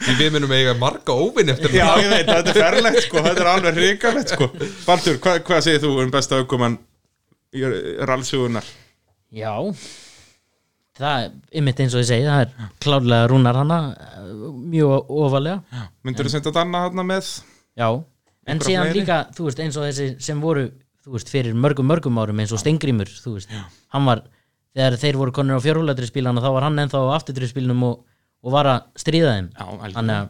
Speaker 3: Því við munum eiga marga óvinn eftir
Speaker 1: <laughs> já, ég veit, <laughs> þetta er ferlegt sko, þetta er alveg hrikalegt sko Baldur, hvað, hvað segir þú um besta aukumann rallsugunar
Speaker 2: já það er ymmit eins og ég segi það er klárlega Rúnar hana eh, mjög ofalega
Speaker 1: myndur þú senda Danna hana með
Speaker 2: já en
Speaker 1: Einhverja
Speaker 2: síðan
Speaker 1: fleiri?
Speaker 2: líka þú veist eins og þessi sem voru þú veist fyrir mörgum mörgum árum eins og Stengrimur þú veist hann var þegar þeir voru konur á fjárhúladrispílana þá var hann ennþá á afturtrispílnum og, og var að stríða þeim
Speaker 1: Já, algjörlega.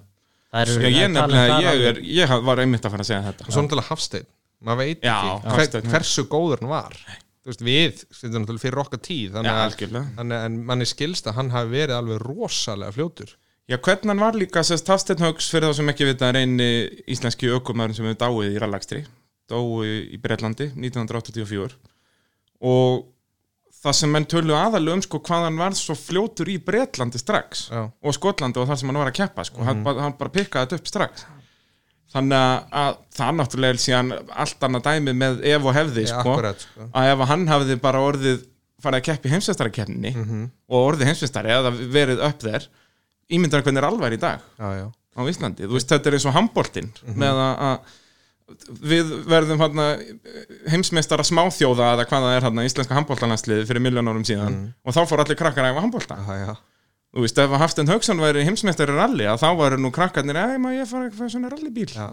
Speaker 2: þannig að það eru-
Speaker 1: já,
Speaker 2: það
Speaker 1: ég
Speaker 2: er talað um
Speaker 1: nefnilega,
Speaker 2: það
Speaker 1: ég,
Speaker 2: alveg.
Speaker 1: er, ég var einmitt að fara að segja þetta
Speaker 3: og svo náttúrulega Hafstein maður veit
Speaker 1: Já,
Speaker 3: ekki hver,
Speaker 1: Hafsteinn, já.
Speaker 3: hversu góður hann var Þú veist, við, þetta er náttúrulega fyrir okkar tíð
Speaker 1: Já,
Speaker 3: þannig að,
Speaker 1: algjörlega.
Speaker 3: þannig að en manni skilst að hann hafi verið alveg rosalega fljótur
Speaker 1: Já, hvernig hann var líka sérst Hafsteinn Hauks fyrir þá sem ekki vita er eini íslenski ökumæðurinn sem hefur dáið í rallakstri dói í Breitlandi 1984 og það sem menn tölu aðalega um sko hvað hann var svo fljótur í Breitlandi strax
Speaker 3: Já.
Speaker 1: og Skotlandi og þar sem hann var að keppa sko, hann, bara- hann bara pikkaði þetta upp strax þannig að- að það náttúrulega er síðan allt annað dæmi með ef og hefði
Speaker 3: Já,
Speaker 1: sko,
Speaker 3: akkurat, sko.
Speaker 1: að ef að hann hafði bara orðið farið að keppi heimsveistarakeppninni mm
Speaker 3: Mhm.
Speaker 1: og orðið heimsveistari eða verið upp þér ímyndar hvernig er alvar í dag
Speaker 3: já, já,
Speaker 1: á Íslandi, þú veist þetta er eins og handboltinn
Speaker 3: Mhm.
Speaker 1: með að, að við verðum hana, heimsmeistara smáþjóða eða hvað það er hana, íslenska handboltalansliði fyrir miljón árum síðan
Speaker 3: Mhm.
Speaker 1: og þá fór allir krakkar að æfa handbolta
Speaker 3: já, já.
Speaker 1: þú veist ef að Hafstend Hauksson væri heimsmeistari í rally að þá væri nú krakkarnir að ég fara eitthvað svona rallybíl
Speaker 3: já.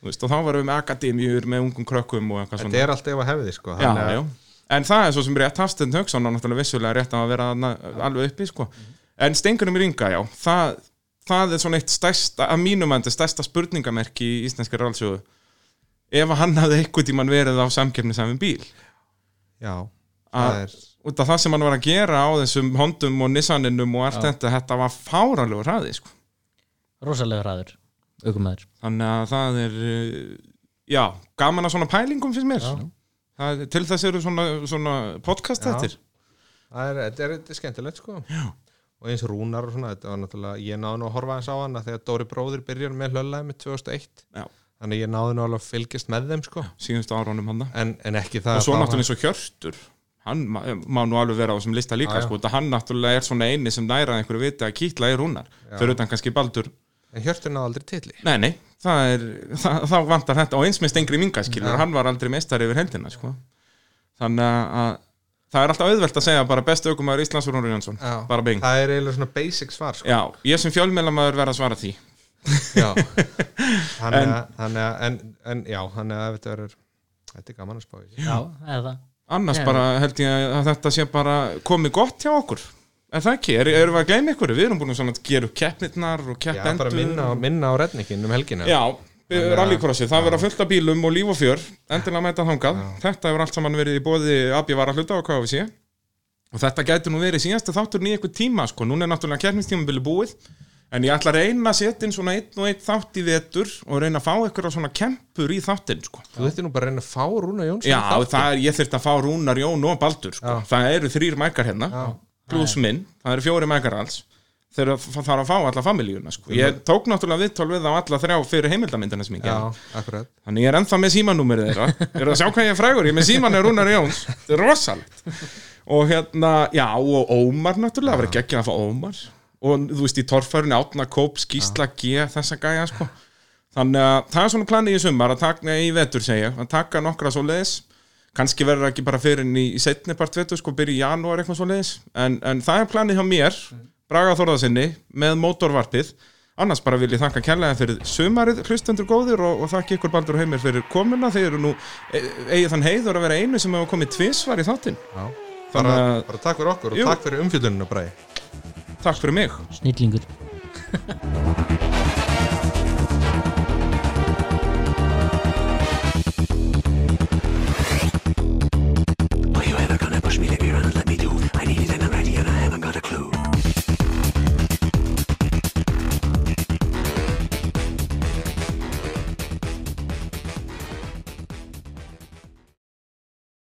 Speaker 1: Þú veist, og þá varum við með akademíur með ungum krökkum og eitthvað
Speaker 3: Þetta
Speaker 1: svona
Speaker 3: er allt ef að hefði sko
Speaker 1: já,
Speaker 3: Þannig að-
Speaker 1: já. en það er svo sem rétt Hafstend Hauksson og náttúrulega vissulega rétt að vera na, alveg uppi
Speaker 3: Mhm.
Speaker 1: sko. en stengunum í ringa, já það, það er svona eitt stærsta að mínum andi stærsta spurningamerki í íslenska rálsjóðu ef að hann hafði eitthvað tíman verið á samkefni saman bíl
Speaker 3: já.
Speaker 1: Að-
Speaker 3: Það er
Speaker 1: út af það sem hann var að gera á þessum hondum og nissaninum og allt þetta þetta var fáralegu hraði sko.
Speaker 2: rosalega hraður aukumæður
Speaker 1: þannig að það er uh, já, gaman að svona pælingum finnst mér það, til þess eru svona, svona podcast
Speaker 3: Já.
Speaker 1: þettir
Speaker 3: Það er, þetta er, þetta er skemmtilegt sko Já. og eins rúnar og svona, þetta var náttúrulega ég náði nú að horfa aðeins á hana þegar Dóri bróðir byrjar með hlöllaði með 2001
Speaker 1: Já.
Speaker 3: þannig að ég náði nú alveg að fylgjast með þeim sko
Speaker 1: síðustu árónum hann
Speaker 3: en, en ekki það
Speaker 1: og svo
Speaker 3: að þá-
Speaker 1: náttúrulega eins og Hjörtur hann má, má nú alveg vera á þessum lista líka
Speaker 3: Já, já.
Speaker 1: sko, þetta hann náttúrulega er svona eini sem næra einhverju viti að kýtla er húnar fyrir utan kannski Baldur
Speaker 3: en Hjörtur náði aldrei titli
Speaker 1: nei, nei, það er, það, þá vantar þetta og eins með Stengri Mingaskilur, hann var aldrei meistari yfir hendina sko. þannig að- að það er alltaf auðvelt að segja bara bestu aukumæður Íslands og Rúnar Jónsson,
Speaker 3: Já.
Speaker 1: bara bing
Speaker 3: það er eiginlega svona basic svar sko.
Speaker 1: já, ég sem fjölmjölamæður verð að svara því <laughs>
Speaker 3: Já. þannig að þannig að- en, en já, þannig að þetta er þetta er gaman að spá í
Speaker 2: já, það er það
Speaker 1: annars
Speaker 2: Já.
Speaker 1: bara held ég að þetta sé bara komið gott hjá okkur en það ekki, er, erum við að gleyma ykkur við erum búin að svona gera upp keppnirnar og
Speaker 3: já, bara
Speaker 1: keppendur
Speaker 3: minna, á- minna á rednikinn um helgina
Speaker 1: já, rallycrossi, það verða fullt af bílum og líf og fjör, endilega mæta þangað þetta hefur allt saman verið í bóði abjavara hluta og hvað við sé og þetta gæti nú verið síðasta þátturinn í eitthvað tíma sko, núna er náttúrulega keppnistímabili búið en ég ætla að reyna að setja inn svona einn og einn þátt í vetur og reyna að fá ykkur svona kempur í þáttinn sko.
Speaker 3: þú þetta nú bara að reyna að fá Rúna Jónsson
Speaker 1: Já,
Speaker 3: í þáttinn.
Speaker 1: það er, ég þurft að fá Rúnar, Jón og Baldur sko.
Speaker 3: Já.
Speaker 1: Það eru þrýr mækar hérna Plus minn, það eru fjóri mækar alls Þeir eru að- það þarf að fá alla familíuna sko. Ég tók náttúrulega viðtól við á alla þrjá fyrir heimildamindina sem ég
Speaker 3: Mhm. já,
Speaker 1: gerði
Speaker 3: akkurat
Speaker 1: Þannig ég er ennþá með símanúmerið þeirra Eru að sjá hvað ég er frægur, ég er með símanu Rúnar Jóns Þetta er rosalegt Og hérna, já, og Ómar náttúrulega Það var ekki ekki að fá Ómar Og þú veist, í torfærunni, Átna Kóps, Gísla G Þessa gæja, sko Þannig að það er svona planið í sumar að taka, nei, í vetur segja, að taka nokkra svo leiðis kannski verður það ekki bara fyrir inn í, í setni part vetur, sko, byrja í janúar eitthvað svo leiðis en, en það er planið hjá mér Braga Þorðarsinni með mótorvarpið annars bara vil ég þakka kærlega fyrir sumarið hlustendur góðir og, og þakki ykkur Baldur og Heimir fyrir komuna, þeir eru nú e, eigið þann heiður að vera einu sem hefur komið tvisvar í þáttinn,
Speaker 3: já.
Speaker 1: Þannig
Speaker 3: Bara,
Speaker 1: að-
Speaker 3: bara takk fyrir okkur og
Speaker 1: Jú.
Speaker 3: takk fyrir umfjöldunum og bræði
Speaker 1: takk fyrir mig
Speaker 2: snillingur